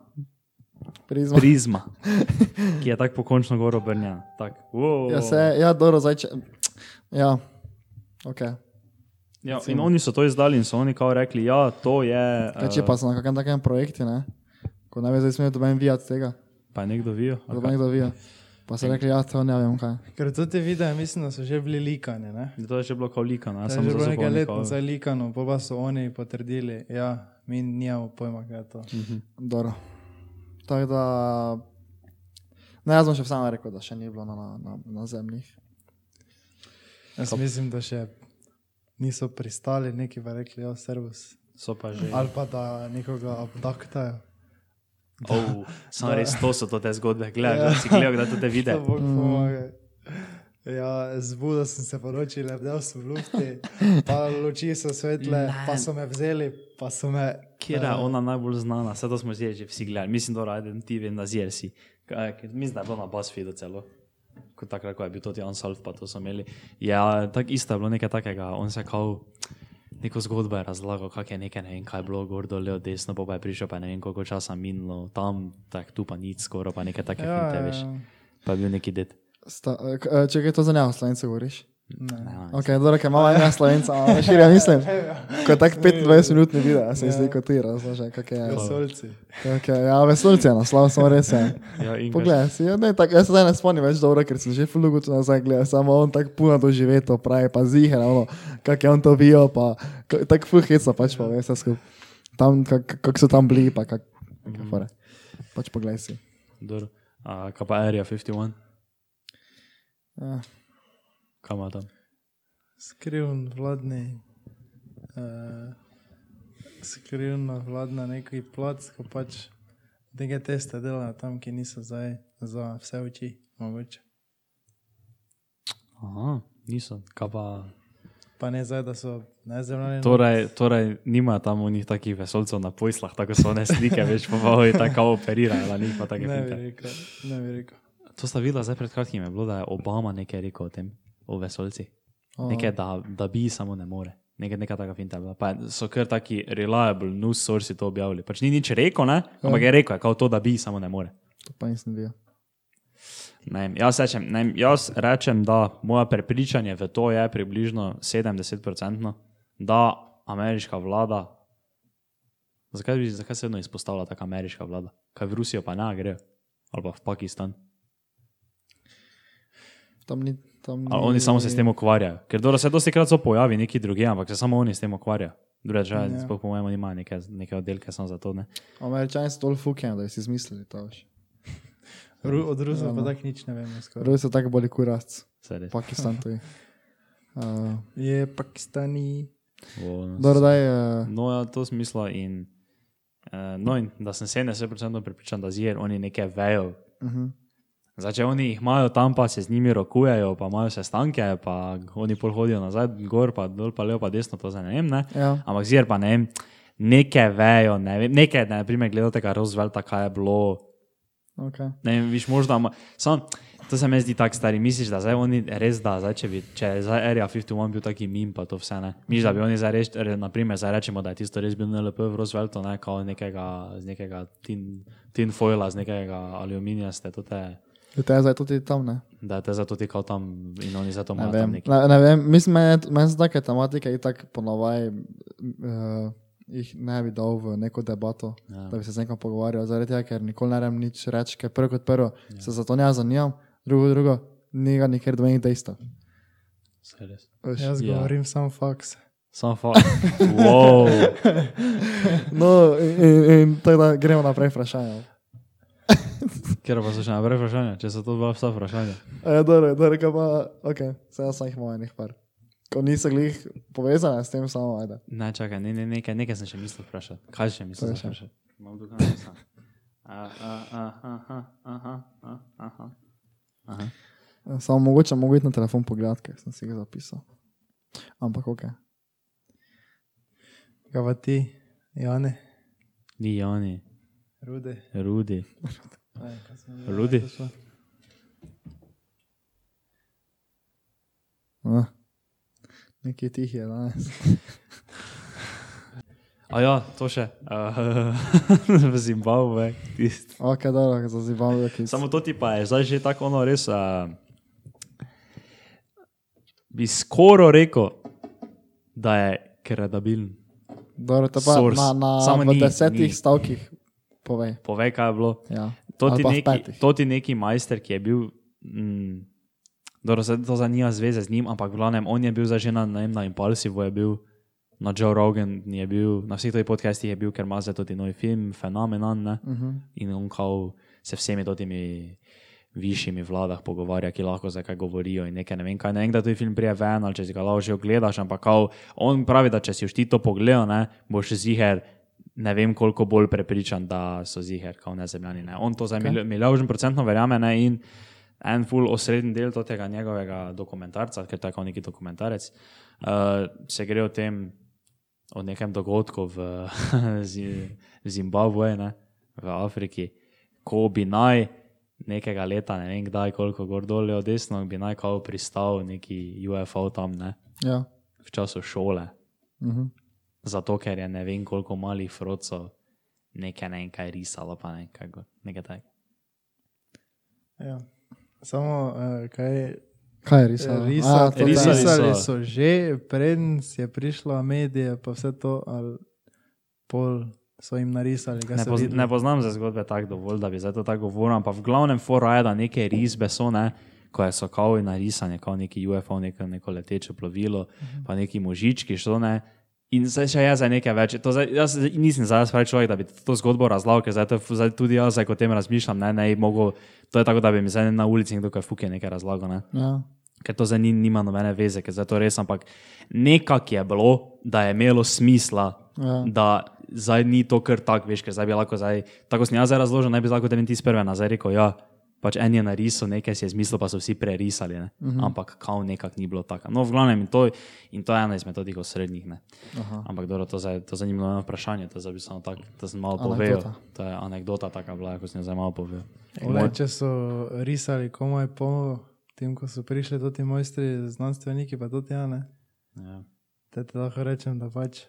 Prizma.
prizma, ki je tako pokončno gor
Ja,
obrnjena. Tak, wow.
Ja, se, ja, dobro, zdaj če. Ja, ok.
Ja, in oni so to izdali in so oni kao rekli, ja, to je.
Kaj če
eh,
pa so na kakem takem projektu, ne? ko ne bi zdaj smel doben vijat tega,
pa je nekdo vijo.
da bi nekdo vijal. Pa so rekli, ja, to ne vem kaj.
Ker to te videe, mislim, da so že bili likani. Ne?
To je že bilo kao likano, jaz
To
sem
je že bilo
razumel.
nekaj let
kao-
nazaj likano, pa pa so oni potrdili, ja, mi nijamo pojma, kaj je to.
Dobro. Tako da, ne, jaz bom še vseeno rekel, da še ni bilo na, na, na, na zemlji.
Jaz mislim, da še niso pristali, neki pa rekli, ja, servus.
So pa že.
Ali pa da nekoga abdaktajo.
Oh, Samo res to so to te zgodbe, gledaj, ja. si gledal, da te vide.
Da Bog pomaga. Ja, zbudil sem se po noči, lebdel sem v lufti, pa luči so svetle,
Ne.
pa so me vzeli, pa so me.
Kjer
Ehm.
je ona najbolj znana, vse to smo zdaj že vsi gledali, mislim, da raden ti vem na zjersi. Mislim, da je bilo na BuzzFeedu celo. Kot takrat, ko je bil tudi Unsolved, pa to so imeli. Ja, tako isto je bilo nekaj takega, on se kao. Neko zgodbo je razlagal, kako je nekaj, ne vem, kaj je bilo gor dol, levo, desno, pa, pa je prišel, pa ne vem, koliko časa minilo, tam, tak, tu pa nič, skoraj pa nekaj takega, ja, ja, ja. pa je bil neki det.
Sta, eh, če je to za njega, slovenci govoriš.
Ne, ne,
Ok, dobro, ker imamo enega slovenca, ampak širja mislim. Ko je tak 25-minutni video, se mi zdi kot ti razložen, kak
eh, Ja,
je.
Vesolci.
kak je- Ja, vesolce je naslov, samo res je.
Ja, in kaj-
Poglej, si, ja, ne, tak, jaz se zdaj ne spomnim več dobro, ker sem že fulugo tu nazaj gledal, samo on tako puno doživi to pravi, pa zihe, ono, kak je on to bio, pa k- tako fulheca pač pa veš, skup. Tam, kako kak so tam bili, pa kako. Mm. Pač poglej si.
Dobro. A, Kaj pa Area 51?
Ja.
Kaj ima tam?
Skrivn vladni. Uh, skrivna vladna neki plac, ko pač neke teste delajo tam, ki niso zdaj za vse oči, mogoče.
Aha, niso. Kaj pa
Pa ne zdaj, da so nezemljani.
Torej, torej nima tam onih takih vesolcev na pojslah, tako so one slike, veš, pa malo je tako operirajo, da njih pa tako
ne bi
je.
rekel. Ne bi rekel.
To sta videla zdaj pred kratkim, je bilo, da je Obama nekaj rekel o tem, o vesolcih. Nekaj, da, da bi samo ne more. Nekaj, neka taka finta. je bila. Pa so kar taki reliable news sourci to objavili. Pač ni nič rekel, ne? ampak je rekel, je kao to, da bi samo ne more.
To pa nisem bil.
Ne, vem, jaz, rečem, ne, vem, jaz rečem, da moje prepričanje v to je približno 70%, da ameriška vlada. Zakaj, bi- zakaj se vedno izpostavlja ta ameriška vlada? Kaj v Rusijo pa ne gre, ali pa v Pakistan.
Tam ni. Tam ni
Ali oni samo se s tem ukvarjajo. Ker dobro, se dosti krat so pojavi neki drugi, ampak se samo oni s tem ukvarjajo. Druge države,
Ja.
yeah. po mojem, imajo neke, neke oddelke samo za to. Ne?
Američani so toliko fukeni, da bi si izmislili to. veš.
Ru, od Rusov pa tako nič ne vemo. skoraj.
Rusi so tako boli kurac,
Saj res.
Pakistan tudi. Uh,
Je Pakistani.
O, no,
dobro, daj, uh,
No, ja, to smisla in, uh, no, in da sem 70% pripričan, da zir oni nekaj vejo. Uh
Mhm.
-huh. Zdaj, če oni jih imajo tam, pa se z njimi rokujejo, pa imajo sestanke, pa oni pol hodijo nazaj, gor, pa dol, pa levo, pa desno, to zdaj ne vem. Ne?
Ja.
Ampak zir pa ne vem, nekaj vejo, ne vem, nekaj, ne, primer, gledate, kaj Roosevelta, kaj je bilo.
okay.
Ne vem, viš možda, ma- samo to se mi zdi tako stari. Misliš, da zdaj oni res da, zdaj, če, bi, če je zdaj Area 51 bil taki mim, pa to vse ne. Misliš, da bi oni zdaj res, re- naprimer, zdaj rečemo, da je tisto res bil NLP v Rooseveltu, ne kao nekega, z nekega tin, tin foila, z nekega aluminija, ste to te,
Te je ja, zdaj tudi tam, ne?
da je te zato ti kao tam in oni zato
Ne
imajo No, tam
vem.
neki.
Ne, ne vem. Mislim, meni je- meni so take tematike itak ponovaj, uh, jih ne bi dal v neko debato, ja. da bi se z nekom pogovarjal, zaradi tega, ker nikoli ne rem nič reči, ker prvo kot prvo ja. se za to ne zanimam, drugo kot drugo, njega nikjer dvojnih dejstev.
Saj res.
veš.
Jaz
Ja.
govorim samo faks.
Samo fa. Wow.
No, in, in, in tako da gremo naprej vprašanje. no.
Ker pa so še naprej vprašanja, če so to dva vsa vprašanja.
E, dobro, dobro, kaj pa, ok, se jaz sem jih imel enih par. Ko niso glih povezane s tem, samo ajde.
Ne, čakaj, ne, ne, nekaj, nekaj sem še mislil vprašati. Kaj še misliš
Povej še.
vprašati? Imam tukaj napisano. A, a, a, aha, aha, a, aha. Aha.
Samo mogoče mogo iti na telefon pogledati, ker sem si ga zapisal. Ampak ok.
Kaj pa ti, Jane,
Ni Jani,
rude?
Rudi.
Ne, kaj sem že
Rudi?
rekla.
Ah. Nekje tih je danes.
A ja, to še. Uh, v Zimbabve. tisto.
Ok, dobro, zazivamo, da je
Samo to ti pa je zdaj že tako ono res. Uh, bi skoro rekel, da je kredibilen.
Dobro, te pa
Source.
na, na
Samo
v
ni,
desetih
ni.
stavkih povej.
Povej, kaj je bilo.
Ja.
To
Ali
ti,
pa v
neki,
petih.
to ti neki majster, ki je bil. Mm, Dobro, zdaj to za nima zveze z njim, ampak v glavnem on je bil zdaj že na, ne vem, na Impulsivu, je bil na Joe Rogan, je bil na vseh teh podcastih, je bil, ker ima zdaj tudi novi film, fenomenan. Ne?
Uh -huh.
in on kao se vsemi temi višjimi vladah pogovarja, ki lahko za kaj govorijo in nekaj ne vem kaj. Ne vem, da ti film prije ven ali če si ga lahko že ogledaš, ampak kao, on pravi, da če si už ti to pogledal, ne, boš ziger. Ne vem, koliko bolj prepričan, da so ziger, kot nezemljani. Ne. On to za okay. milijon procentno verjame ne, in en full osrednji del to tega njegovega dokumentarca, ker to je tako neki dokumentarec, uh, se gre o tem, o nekem dogodku v Zi- Zimbabveju, ne, v Afriki, ko bi naj nekega leta, ne vem kdaj, koliko gor dolje od desno, bi naj kao pristal neki UFO tam, ne,
Ja.
v času šole.
Uh -huh.
Zato, ker je ne vem koliko malih frocov nekaj ne vem kaj risalo, pa ne vem kaj gor, nekaj takega.
Ja. Samo uh, kaj
Kaj je risalo?
Risali,
A, to je-
risali.
risali
so.
so že, preden je prišla medije, pa vse to, ali pol so jim narisali.
Ne, poz, ne poznam za zgodbe tako dovolj, da bi zdaj to tako govoril, ampak v glavnem fora je, da neke risbe so, ne, ko je sokal in narisanje, kot neki UFO, neko, neko leteče plovilo, pa neki možički šlo, ne. In zdaj še jaz za nekaj več. To Zdaj, jaz zdaj nisem zdaj jaz pravi človek, da bi to zgodbo razlagal, ker zdaj, to, je- zdaj tudi jaz, zdaj, ko o tem razmišljam, ne, ne, bi mogel, to je tako, da bi mi zdaj na ulici nekdo kaj fuke nekaj razlagal. Ne
Ja.
ker to za njim nima nobene veze, ker za to res, ampak nekako je bilo, da je imelo smisla,
Ja.
da zdaj ni to kar tako, veš, ker zdaj bi lahko, zdaj, tako sem jaz zdaj razložil, ne bi lahko 97 nazaj rekel, ja, pač en je narisal, nekaj si je zmislil, pa so vsi prerisali, ne? uh
Mhm.
-huh. ampak kao nekako ni bilo tako. No, v glavnem in to, in to je ena izmed teh osrednjih. ne. Ampak dobro, to, zdaj, to zanimivo je vprašanje, to, zdaj bi samo tako, to sem malo povedal,
Anekdota.
to je anekdota taka bila, ko sem jo zdaj malo povedal.
Ole, če so risali komaj po tem, ko so prišli ti mojstri, znanstveniki, pa tudi ja, ne.
Ja.
Te, te lahko rečem, da pač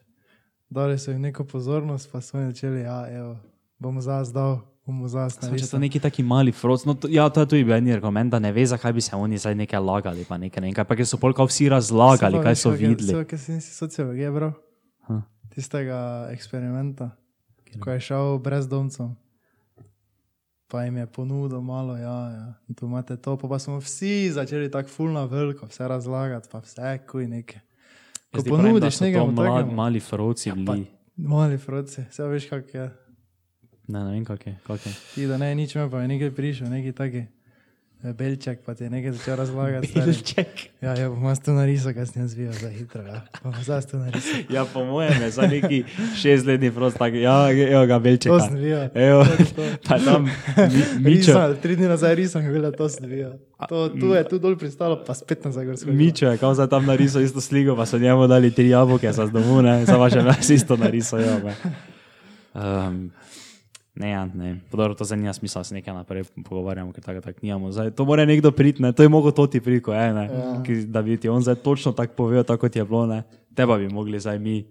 dali so jim neko pozornost, pa so jim začeli, ja, evo, bom zazdal, bom
Samo, Če so
zazdal.
neki taki mali frost, no, to, ja, to je tudi bil en argument, da ne ve, zakaj bi se oni zdaj nekaj lagali, pa nekaj, nekaj, pa ker so polka vsi razlagali, kaj so videli.
Kaj si nisi sociologija, bro?
Ha.
Tistega eksperimenta, ko je šel brezdomcem. Pa jim je ponudil malo, ja, ja. in tu imate to, pa, pa smo vsi začeli tako fulno veliko, vse razlagati, pa vse kuj neke. Ko
Jaz ti pravim, da
ponudiš
so to
nekaj,
mla, mali froci ja,
pa-
bili.
Mali froci, vse veš, kak je.
Ne, ne vem, kak je. Kak je.
Ti da ne, nič me pa je nekaj prišel, neki taki eh, belček, pa ti je nekaj začel razlagati. stari. Ja, ja, bom jaz to narisal, kaj sem jaz bil za hitro. Ja. Bom jaz to narisal.
Ja, po mojem, je za neki šestletni frost, tako, ja, evo ga, belček.
To sem bil.
Evo,
to.
ta tam, mi, mičo,
Risal, tri dni nazaj risam, kako je to sem bil. To, tu je tu dol pristalo, pa spet nazaj gor skočilo.
mičo je kao za tam narisal isto sliko, pa so njemu dali tri jabolke za domu, ne, za vaše nas isto narisal, ja, me. Um, Ne, ja, ne. Podoro, to zdaj nima smisla, da se nekaj naprej pogovarjamo, ker tako tak nimamo. Zdaj, to mora nekdo priti, ne? to je mogo to ti priko, e, ne? Ja. Ki, da bi ti on zdaj točno tako povedal, tako kot je bilo, ne? teba bi mogli zdaj mi,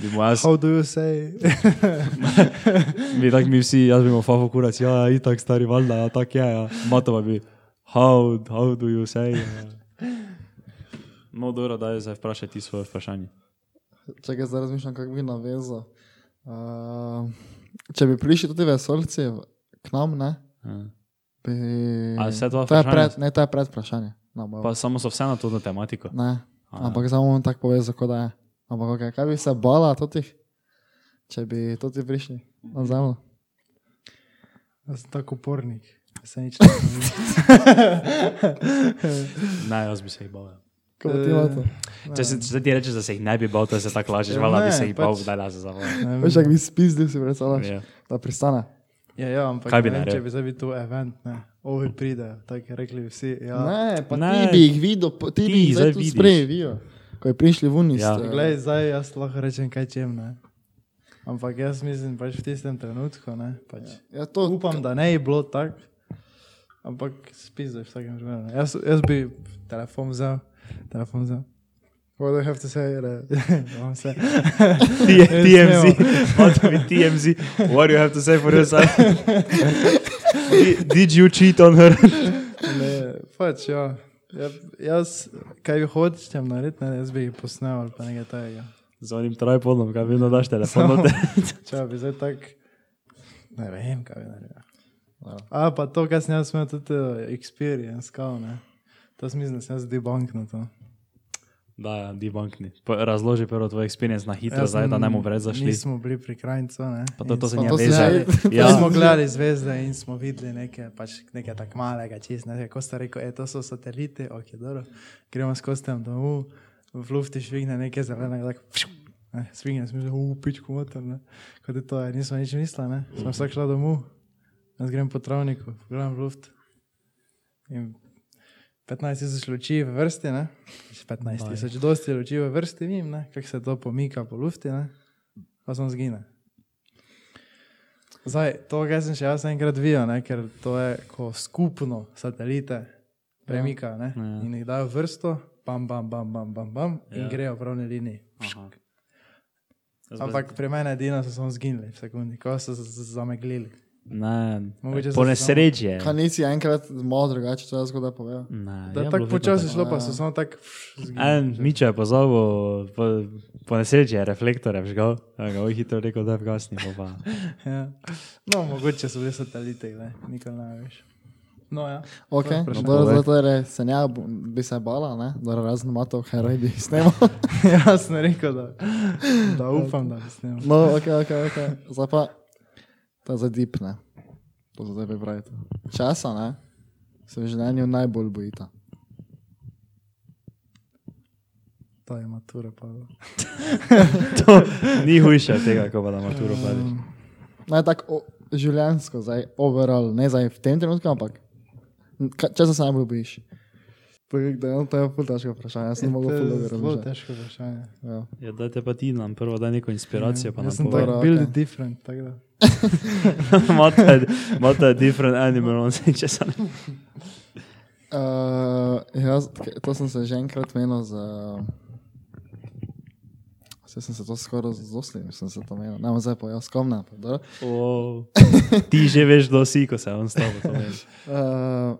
bi mu jaz,
How do you say?
bi tako mi vsi, jaz bi mu fafo kurac, ja, ja, itak stari valda, ja, tak je, ja, mato pa bi, how, how do you say? Ja. No, dobro, da je zdaj vprašaj ti svoje vprašanje.
Čakaj, zdaj razmišljam, kako bi navezal. Uh, če bi prišli tudi vesolci v- k nam, ne?
Ja.
Bi...
A vse
to
to
je
vprašanje?
pred, ne, to je pred vprašanje. No, bo-
Pa samo so vse na to tematiko.
ne,
A,
ampak samo on tako povezal, kot da je. Ampak okay, kaj bi se bala totih, če bi toti prišli na zemljo?
Jaz sem tako upornik. Jaz se nič ne bojim.
Ne, jaz bi se jih bal. ja.
Kako ti
Eh,
je to?
Če se če ti rečeš, da se jih ne bi bal, to se tako lažeš,
Ja,
vala bi
ne,
se jih bal,
pač.
da da se zavolaš.
Ne
Veš,
vem.
kako bi spizdil, si predstavljaš,
Ja.
da pristane.
Ja, ja, ampak
Kaj bi
ne vem,
naredil?
če bi zdaj bil tu event, ne. Ovi pridejo, tako je rekli vsi. Ja.
Ne, pa
Ne.
ne. ti bi jih videl, po- ti, ti bi jih zdaj
vidiš.
vidiš. Sprejevijo, ko je prišli v Unis.
Ja.
Ja.
Glej, zdaj jaz lahko rečem, kaj čem. Ne? Ampak jaz mislim, pač v tistem trenutku. Ne, pač.
Ja, to,
Upam, da ne je bilo tako, ampak spis zdaj v vsakem primeru. ne. Jaz, jaz bi telefon vzel, telefon vzel. What do I have to say? Da- da imam vse. TMZ.
What with TMZ? What do you have to say for yourself? did, did you cheat on her?
Ne, pač, ja. Ja, jaz, kaj bi hočem narediti, ne, jaz bi jih posnel ali pa nekaj takega.
Z onim tripodom, kaj vedno daš telefon. noter.
Če bi zdaj tako, ne vem, kaj bi naredil. ja. A pa to, kar sem jaz imel, tudi eh, experience, kao, ne. To sem mislil, da sem jaz debunk na to.
da, ja, debunkni. Pa Razloži prvo tvoj experience na hitro,
Jaz
zdaj da ne
sem-
bomo preveč zašli.
Nismo bili pri krajcu, ne.
Pa to- to
In
se
Pa
nje
to se
veže.
ne-
Ja. Smo
Ja,
gledali zvezde in smo videli nekaj, pač nekaj tako malega, čist ne vem, kako sta rekel, e, to so sateliti, ok, dobro. Gremo skozi tam domov, v lufti švigne nekaj zelenega, tako pšu, ne, svigne, smo že upičku motor, ne. Kot je to, ja, nismo nič mislili, ne. Smo vsak šla domov, jaz grem po travniku, gledam v luft. In 15 tisoč luči v vrsti, ne. Še 15 tisoč, dosti luči v vrsti, vidim, ne, kako se to pomika po lufti, ne. Pa sem zginil. Zdaj, to, kar sem še jaz enkrat videl, ne, ker to je, ko skupno satelite premikajo ne,
Ja.
in jih dajo v vrsto, bam, bam, bam, bam, bam, bam in
Ja.
grejo v pravni liniji.
Aha. Jaz
Ampak pri meni edino so samo zginili, v sekundi, ko so se z- zameglili.
Ne,
Mogoče
po
so samo-
nesreči je.
Kaj nisi enkrat malo drugače, to jaz zgodaj povem.
Ne,
Da,
Ja, je
tako
bilo
počasi
vedno
šlo, pa
Ja.
so samo tako
En, Mičo je pozabil, po, po nesreči je reflektorje vžgal, a ga je hitro rekel, da je vgasni. pol Pa.
Ja. No, mogoče so bili sateliti, ne, nikoli ne veš. No, ja.
Okay,
vprašanje.
dobro, zdaj torej, se nja bo- bi se bala, ne? Dobro, razen matov, heroj bi jih snimal.
jaz sem rekel, da, da upam, da bi snimal.
No, ok, ok, ok. Zdaj pa, ta zadipne. To za tebe pravite. Časa, ne? Se v življenju najbolj bojita.
To je matura, pa.
To ni hujše od tega, ko pa na maturo
Ja.
pade.
Naj Mm. No, tako o- življenjsko, zdaj overall, ne zdaj v tem trenutku, ampak n- ka- česa se najbolj bojiš? To je, da, to je ful težko vprašanje, jaz
Je,
ne mogu
to je
ful
Zelo
dobro
težko vprašanje.
Ja, da te pa ti nam prvo da neko inspiracijo, pa nam
Ja, Jaz sem
povej.
pove.
tako
Dobro,
build
okej.
different, tako da.
Mata je- Mata je different animal, on se če sam.
Uh, jaz, k- to sem se že enkrat menil z... Vse sem se to skoraj z oslim, sem se to menil. Ne, bom zdaj pa jaz komna. Uh,
Wow. Ti že veš, kdo si, ko se on stavi. to veš.
Eh,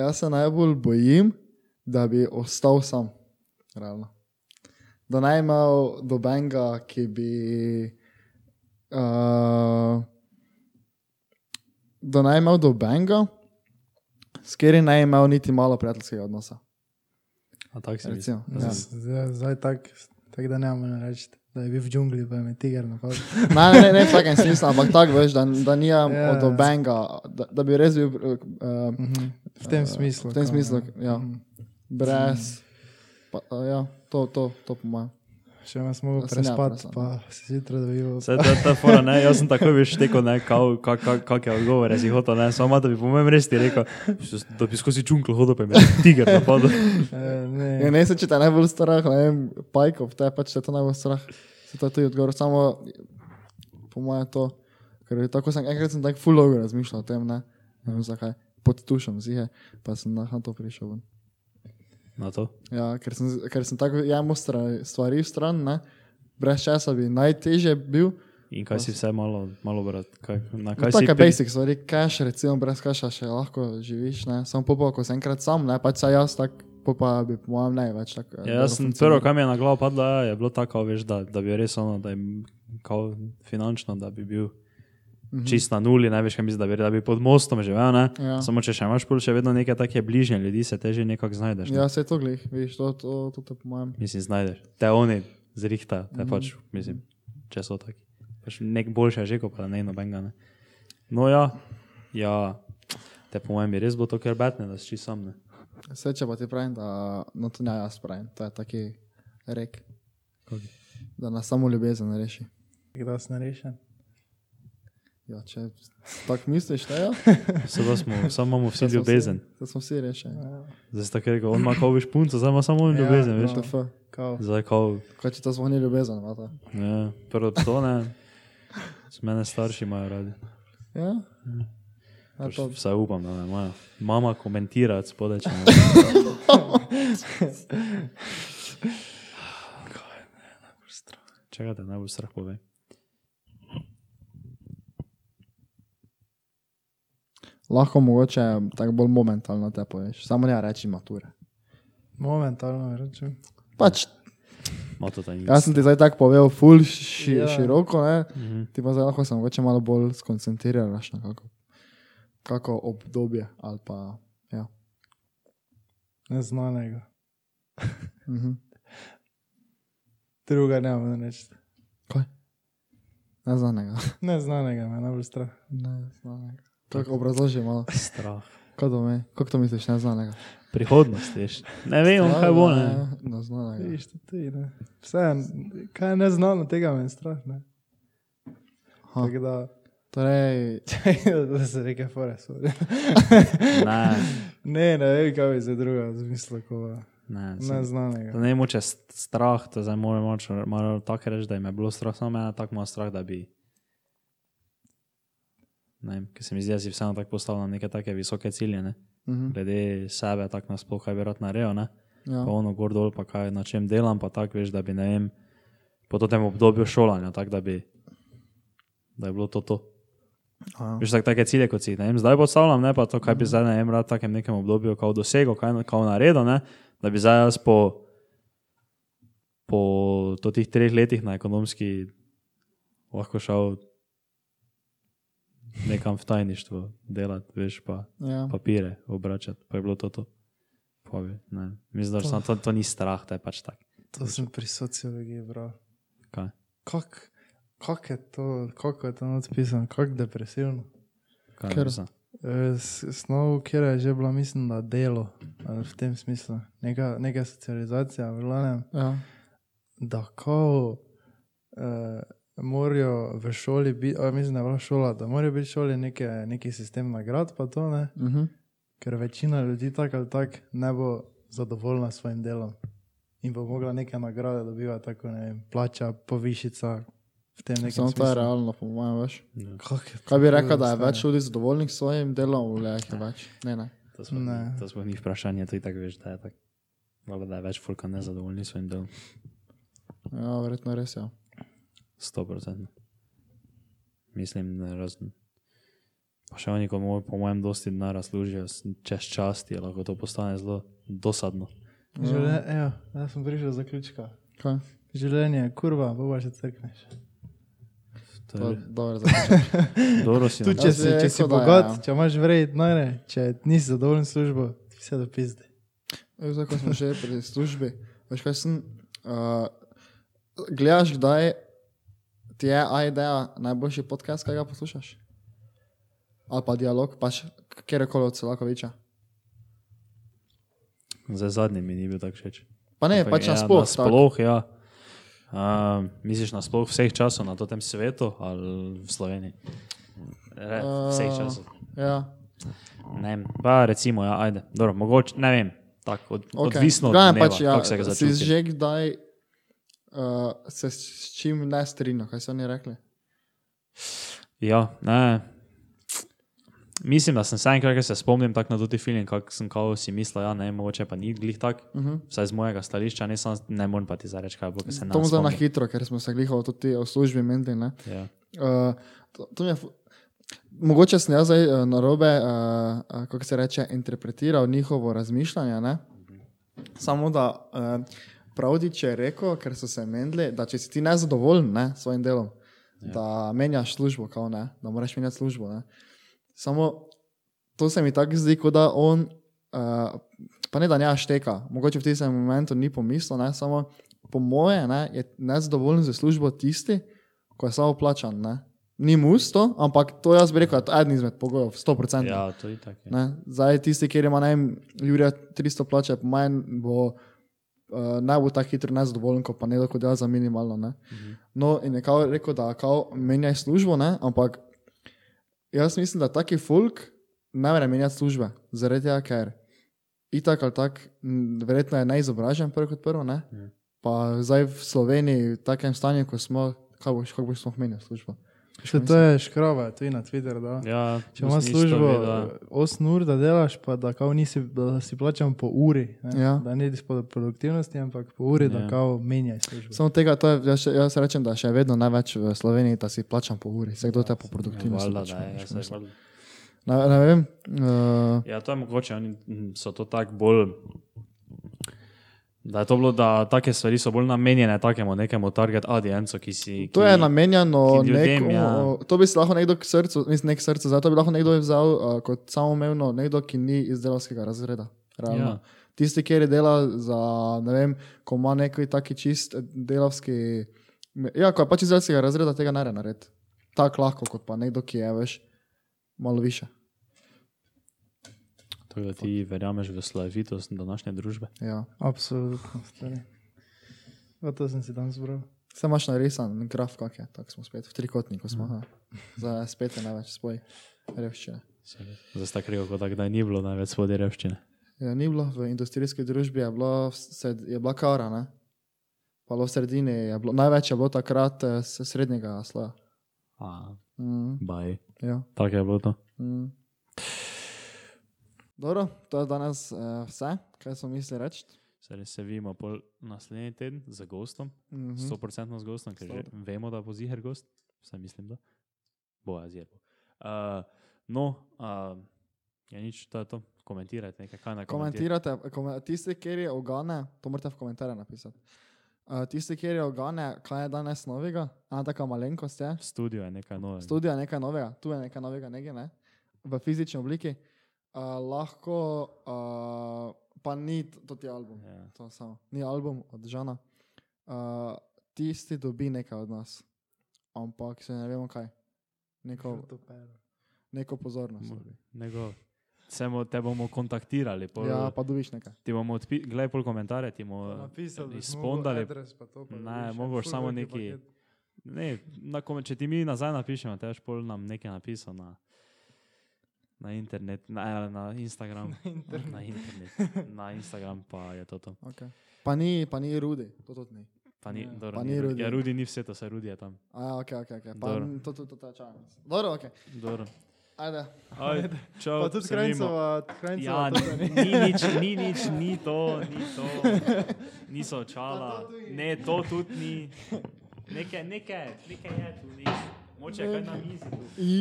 jaz se najbolj bojim, da bi ostal sam. Realno. Da naj imel dobenga, ki bi... Uh, da naj imel dobenga, s katerim naj imel niti malo prijateljskega odnosa.
A tako si mislil.
Recimo,
Ja. Zdaj, zdaj tako, tak, da ne morem reči, da je bil v džungli, pa je me tiger napadel.
Ne, ne, ne, ne v takem smislu, ampak tako veš, da, da ni
Ja,
yeah.
ja.
od obenga, da, da bi res bil uh,
Mhm. V tem smislu.
Eh, v tem
kao,
smislu,
ne.
ja,
Mhm.
brez. Pa, uh, ja, to, to, to po mojem.
Še nas mogo
To sem ja
prespati,
vprašal.
pa se zjutraj dobival.
Vse to je ta fora, ne, jaz sem takoj veš teko, ne, kao- ka- ka- kake odgovore si hotel, ne, samo mata bi po mojem res ti rekel, da bi skozi džunglo hodil, pa bi me tiger napadel.
Eh,
Ja,
Ne,
ne se če te najbolj strah, ne vem, pajkov, te pač te to najbolj strah. Se to je tudi odgovor, samo po mojem to. Ker je tako sem, enkrat sem tako full logo razmišljal o tem, ne, ne vem zakaj, pod tušem zihe, pa sem na to prišel. Ven.
Na to.
Ja, ker sem, ker sem tako jamo stra- stvari v stran, ne? brez časa bi najtežje bil.
In kaj si vse malo, malo brat, kaj, na
No,
kaj si
Tako je
pri-
basic, stvari, kaš, recimo brez kaša še lahko živiš, ne? samo popa, ko sem enkrat sam, ne pač saj jaz tako, popa bi po mojem ne več. Tak,
Ja, jaz sem prvo, kar mi je na glavo padlo, ja, je bilo tako, veš, da, da bi res ono, da je kao finančno, da bi bil čist na nuli, ne veš, kaj mislim, da bi, da bi pod mostom živel, ne?
Mhm. Ja.
Samo če še imaš pol, še vedno neke take bližnje ljudi, se teže nekako znajdeš. Ne?
Ja, se to glih, vidiš, to, to, to, to po mojem.
Mislim, znajdeš. Te oni zrihtajo, te pač, mislim, če so taki. Pač nek boljši je že, kot pa da ne eno benga, ne. No ja, ja, te po mojem bi res bilo to, ker betne, da si čist sam, ne.
Vse če pa ti pravim, da no, to ne jaz pravim, to je taki rek,
Kaj?
da nas samo ljubezen reši.
kdo se ne reši.
Ja, če tako misliš, ne, ja,
Sedaj smo, samo imamo vsi
to smo
ljubezen.
vsi- To smo vsi rešeni.
Zdaj si tako rekel, on ima kao veš punco, zdaj ima samo on
Ja,
ljubezen, veš.
WTF,
Kao,
Zdaj kao,
Kaj če to smo ni ljubezen, vata.
ne, prvo to ne, s mene starši imajo radi.
Ja? Ja, to,
Vse Pač upam, da ne imajo. Mama komentira od spodaj, če ne. Čakaj, da ne bo strah pove.
lahko mogoče tako bolj momentalno te poješ. Samo ne reči mature.
Momentalno rečem.
Pač,
Moto to ni.
jaz sem ti zdaj tako povedal, ful ši,
Ja.
ja. široko, ne?
Mhm.
ti pa zdaj lahko se mogoče malo bolj skoncentriraš na kako, kako obdobje ali pa. Ja.
Neznanega.
Mhm.
Druga ne morem reči.
Neznanega.
Neznanega me je najbolj strah.
Neznanega. Tako obrazloži malo,
Strah.
kaj to me, kako to misliš, neznanega.
Prihodnost, veš. Ne vem, E, kaj bo.
ja.
Ne.
Neznanega.
Viš, tudi, ne. Vse, en- kaj je neznano, tega me je strah. Ne?
Ha.
Tako da,
Torej,
da se reke fore. sorry.
Ne,
ne, ne vem, kaj bi se druga zmislila, ko
ne, sem- To
neznanega.
ne moče strah, to zdaj moram moč- malo tako reči, da jim je bilo strah, samo mene tako malo strah, da bi. Ne vem, ker se mi zdi, da si vseeno tako postavil na neke take visoke cilje, ne?
mhm,
glede sebe, tako nasploh, kaj bi rad naredil, ne?
ja.
pa ono gor dol, pa kaj na čem delam, pa tako veš, da bi ne vem, po tem obdobju šolanja, tako da bi, da je bilo to to.
Aha.
Veš, tak, take cilje, kot si jih ne vem, zdaj postavljam, ne pa to, kaj bi
Mhm.
zdaj ne vem, rad v takem nekem obdobju kao dosegel, kaj kao naredil, ne, da bi zdaj jaz po, po totih treh letih na ekonomski lahko šel nekam v tajništvo delati, veš, pa
ja.
papire obračati, pa je bilo to to. Pa bi, ne. Mislim, da
To-
samo to, to ni strah, to je pač tak.
To sem pri sociologiji, bro.
Kaj?
Kako kak je to, kako je to odpisano, kako depresivno.
Kaj
Ker-
mislim?
Eh, s- Snov, kjer je že bila, mislim, da delo, ali v tem smislu, neka, neka socializacija, v glavnem.
Ja.
da ko uh, morajo v šoli biti, a mislim, da je bila šola, da morajo biti v šoli neke, neki sistem nagrad, pa to ne,
Mhm.
ker večina ljudi tako ali tako ne bo zadovoljna s svojim delom in bo mogla neke nagrade dobivati, tako ne vem, plača, povišica v tem nekem
Samo to je
smislu.
realno, po mojem, veš.
Kako je to
Kaj bi rekel, da je
stanje?
več ljudi zadovoljnih s svojim delom, ali jih je več? Ne, ne.
To smo, ni,
Ne.
to smo ni vprašanje, to je tako veš, da je tako. Valjda, da je več fulka nezadovoljni s svojim delom.
Ja, verjetno res je. Ja.
100%. Mislim, ne razen. Pa še oni, ko moj, po mojem, dosti denarja služijo, s- čez časti, lahko to postane zelo dosadno.
Ja.
Življenje, evo, jaz sem prišel do zaključka.
Kaj?
Življenje je kurva, bo pa še crkneš.
To
To je
je
dobro začeti.
dobro, si
Tu,
na-
Ja,
če, si,
bi
če si
rekel, da
bogat,
ja.
če imaš vredno, denarja, če nisi zadovoljen s službo, ti vse dopisde.
Zdaj, ko smo že pri službi, veš kaj sem. Uh, gledaš, kdaj ti je AIDEA najboljši podcast, kaj ga poslušaš? Ali pa dialog, pač kjerkoli od Selakoviča.
Zdaj zadnji mi ni bil tako všeč.
Pa ne,
Ampak
pač
ja,
nasploh. tako.
Nasploh, ja. Um, misliš nasploh vseh časov na tem svetu ali v Sloveniji? Re, vseh
Eh,
časov.
Ja.
Ne vem, pa recimo, ja, ajde, dobro, mogoče, ne vem, tako od, okay.
Okay.
odvisno od
Glavnem
tega,
pač, ja,
kako se ga
Si
začne.
že kdaj uh, se s s čim ne strinjam, kaj so oni rekli?
Ja, ne. Mislim, da sem se enkrat, ko se spomnim, tako na tudi film, kako sem kao si mislil, ja, ne, mogoče pa ni glih tak,
Uh -huh.
vsaj z mojega stališča, ne, sam, ne morem pa ti zareči, kaj bo, ker se ne.
To mu zdaj na
spomnim.
hitro, ker smo se glihali tudi o službi menili. ne.
Ja.
Uh, to, to mi je fu- Mogoče sem jaz zdaj eh, na robe, uh, kako se reče, interpretiral njihovo razmišljanje. Ne? Samo da uh, pravdič je rekel, ker so se menili, da če si ti nezadovoljen ne, s svojim delom, ja. da menjaš službo, kao, ne, da moraš menjati službo. Ne. Samo to se mi tako zdi, kot da on, uh, pa ne da ne šteka, mogoče v tistem momentu ni pomislil, ne, samo po moje ne, je nezadovoljen z službo tisti, ko je samo plačan. Ne. Ni mu isto, ampak to jaz bi rekel, da je to eden izmed pogojev, 100%.
ja, to je tako.
Ne? Zdaj, tisti, ki ima najem, Jurija 300 plače, po manj bo uh, naj bo tako hitro nezadovoljen, ko pa ne lahko dela za minimalno. Ne?
Mhm.
No, in je kao rekel, da kao menjaj službo, ne? ampak jaz mislim, da taki folk ne more menjati službe, zaradi tega, ker itak ali tak, m, verjetno je neizobražen, prvo kot prvo. Ne?
Mhm.
Pa zdaj v Sloveniji, v takem stanju, ko smo, kaj boš, kako boš sploh menjal službo.
Še to je škrava, tu je na Twitter. Da.
Ja,
Če imaš
mislim, isto
službo,
bi, da-
8 ur da delaš, pa da, kao nisi, da si plačan po uri, ne?
Ja.
da ne ideš po produktivnosti, ampak po uri,
Ja.
da kao menjaj službo.
Samo tega, to je, jaz, še- jaz rečem, da še vedno največ v Sloveniji, da si plačam po uri, vse kdo te po produktivnosti.
Ja, Valjda,
plača,
da je,
veš,
saj
mislim.
valjda.
Ne, ne vem. Uh,
Ja, to je mogoče, oni mm, so to tako bolj. Da je to bilo, da take stvari so bolj namenjene takemu nekemu target audiencu, ki si.
to
ki,
je namenjeno
ki ljudem,
nekomu,
ja.
to bi si lahko nekdo k srcu, mislim, nek srcu, zato bi lahko nekdo vzel uh, kot samoumevno, nekdo, ki ni iz delovskega razreda. realno.
Ja.
Tisti, ki dela za, ne vem, ko ima neki taki čist delovski, ja, ko je pač iz delovskega razreda, tega ne more narediti. Tako lahko, kot pa nekdo, ki je, veš, malo više.
Tako da ti verjameš v slavitost današnje družbe.
Ja.
Absolutno. stari. O, to sem si tam zbral.
Vse imaš narisan, graf kak je, tako smo spet v trikotniku, smo, mm. za spet je največ spoj revščine.
Zdaj sta krivo, kot da kdaj ni bilo največ svode revščine.
Ja, ni bilo, v industrijski družbi je, bilo, v sred- je bila kara, ne? pa bilo v sredini, je bilo, največ je bilo takrat eh, s srednjega sloja.
A,
Mm,
baj.
ja.
Tako je bilo to.
mm. Dobro, to je danes uh, vse, kaj smo mislili reči.
Se res se vidimo pol naslednji teden z gostom,
Mm -hmm.
100% z gostom, ker že vemo, da bo ziger gost, vsaj mislim, da bo azir. Uh, no, uh, ja, nič, to je to. Komentirajte nekaj, kaj naj komentirate.
Komentirate, kom tisti, kjer je ogane, to morate v komentarje napisati. Uh, tisti, kjer je ogane, kaj je danes novega, ena taka malenkost je.
Studio je nekaj novega.
Studio je nekaj novega, tu je nekaj novega, nekaj, ne? v fizični obliki. Uh, lahko, uh, pa ni t- to ti album,
Ja.
yeah. to samo, ni album od Žana. Uh, tisti dobi nekaj od nas, ampak se ne vemo kaj. Neko, neko pozornost.
Mo- Nego, samo te bomo kontaktirali, pol,
Ja, pa dobiš nekaj.
ti bomo odpisali, gledaj pol komentarje, ti bomo
Napisal bi
izpondali.
Ne,
Ne, mogoš samo neki- Ne, na kome, če ti mi nazaj napišemo, te boš pol nam nekaj napisal na, na internet, na, na Instagram. Na internet, na Instagram pa je to. to.
Okay. Pa ni, pa ni rudi, to tudi ni.
Pa ni,
Ja.
dobro,
Pa
ni,
ni
Rudi.
Rudi.
Ja, Rudi ni vse, to se Rudi je tam.
A, ok, ok, ok. Pa,
Dobro.
n- to, to, to, to je čas. Dobro, ok.
Dobro.
Ajde.
Aj, čau,
Pa tudi
se vidimo.
krajcova, krajcova.
Ja, ni, ni nič, ni nič, ni to, ni to. Niso
Pa
očala.
to tudi.
Ne, to tudi ni. Nekaj, nekaj, nekaj je tu, ni. Moče je kaj na mizi. tu.
I,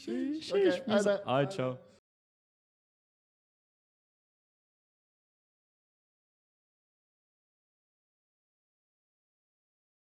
še, še,
Aj,
ajde.
čau.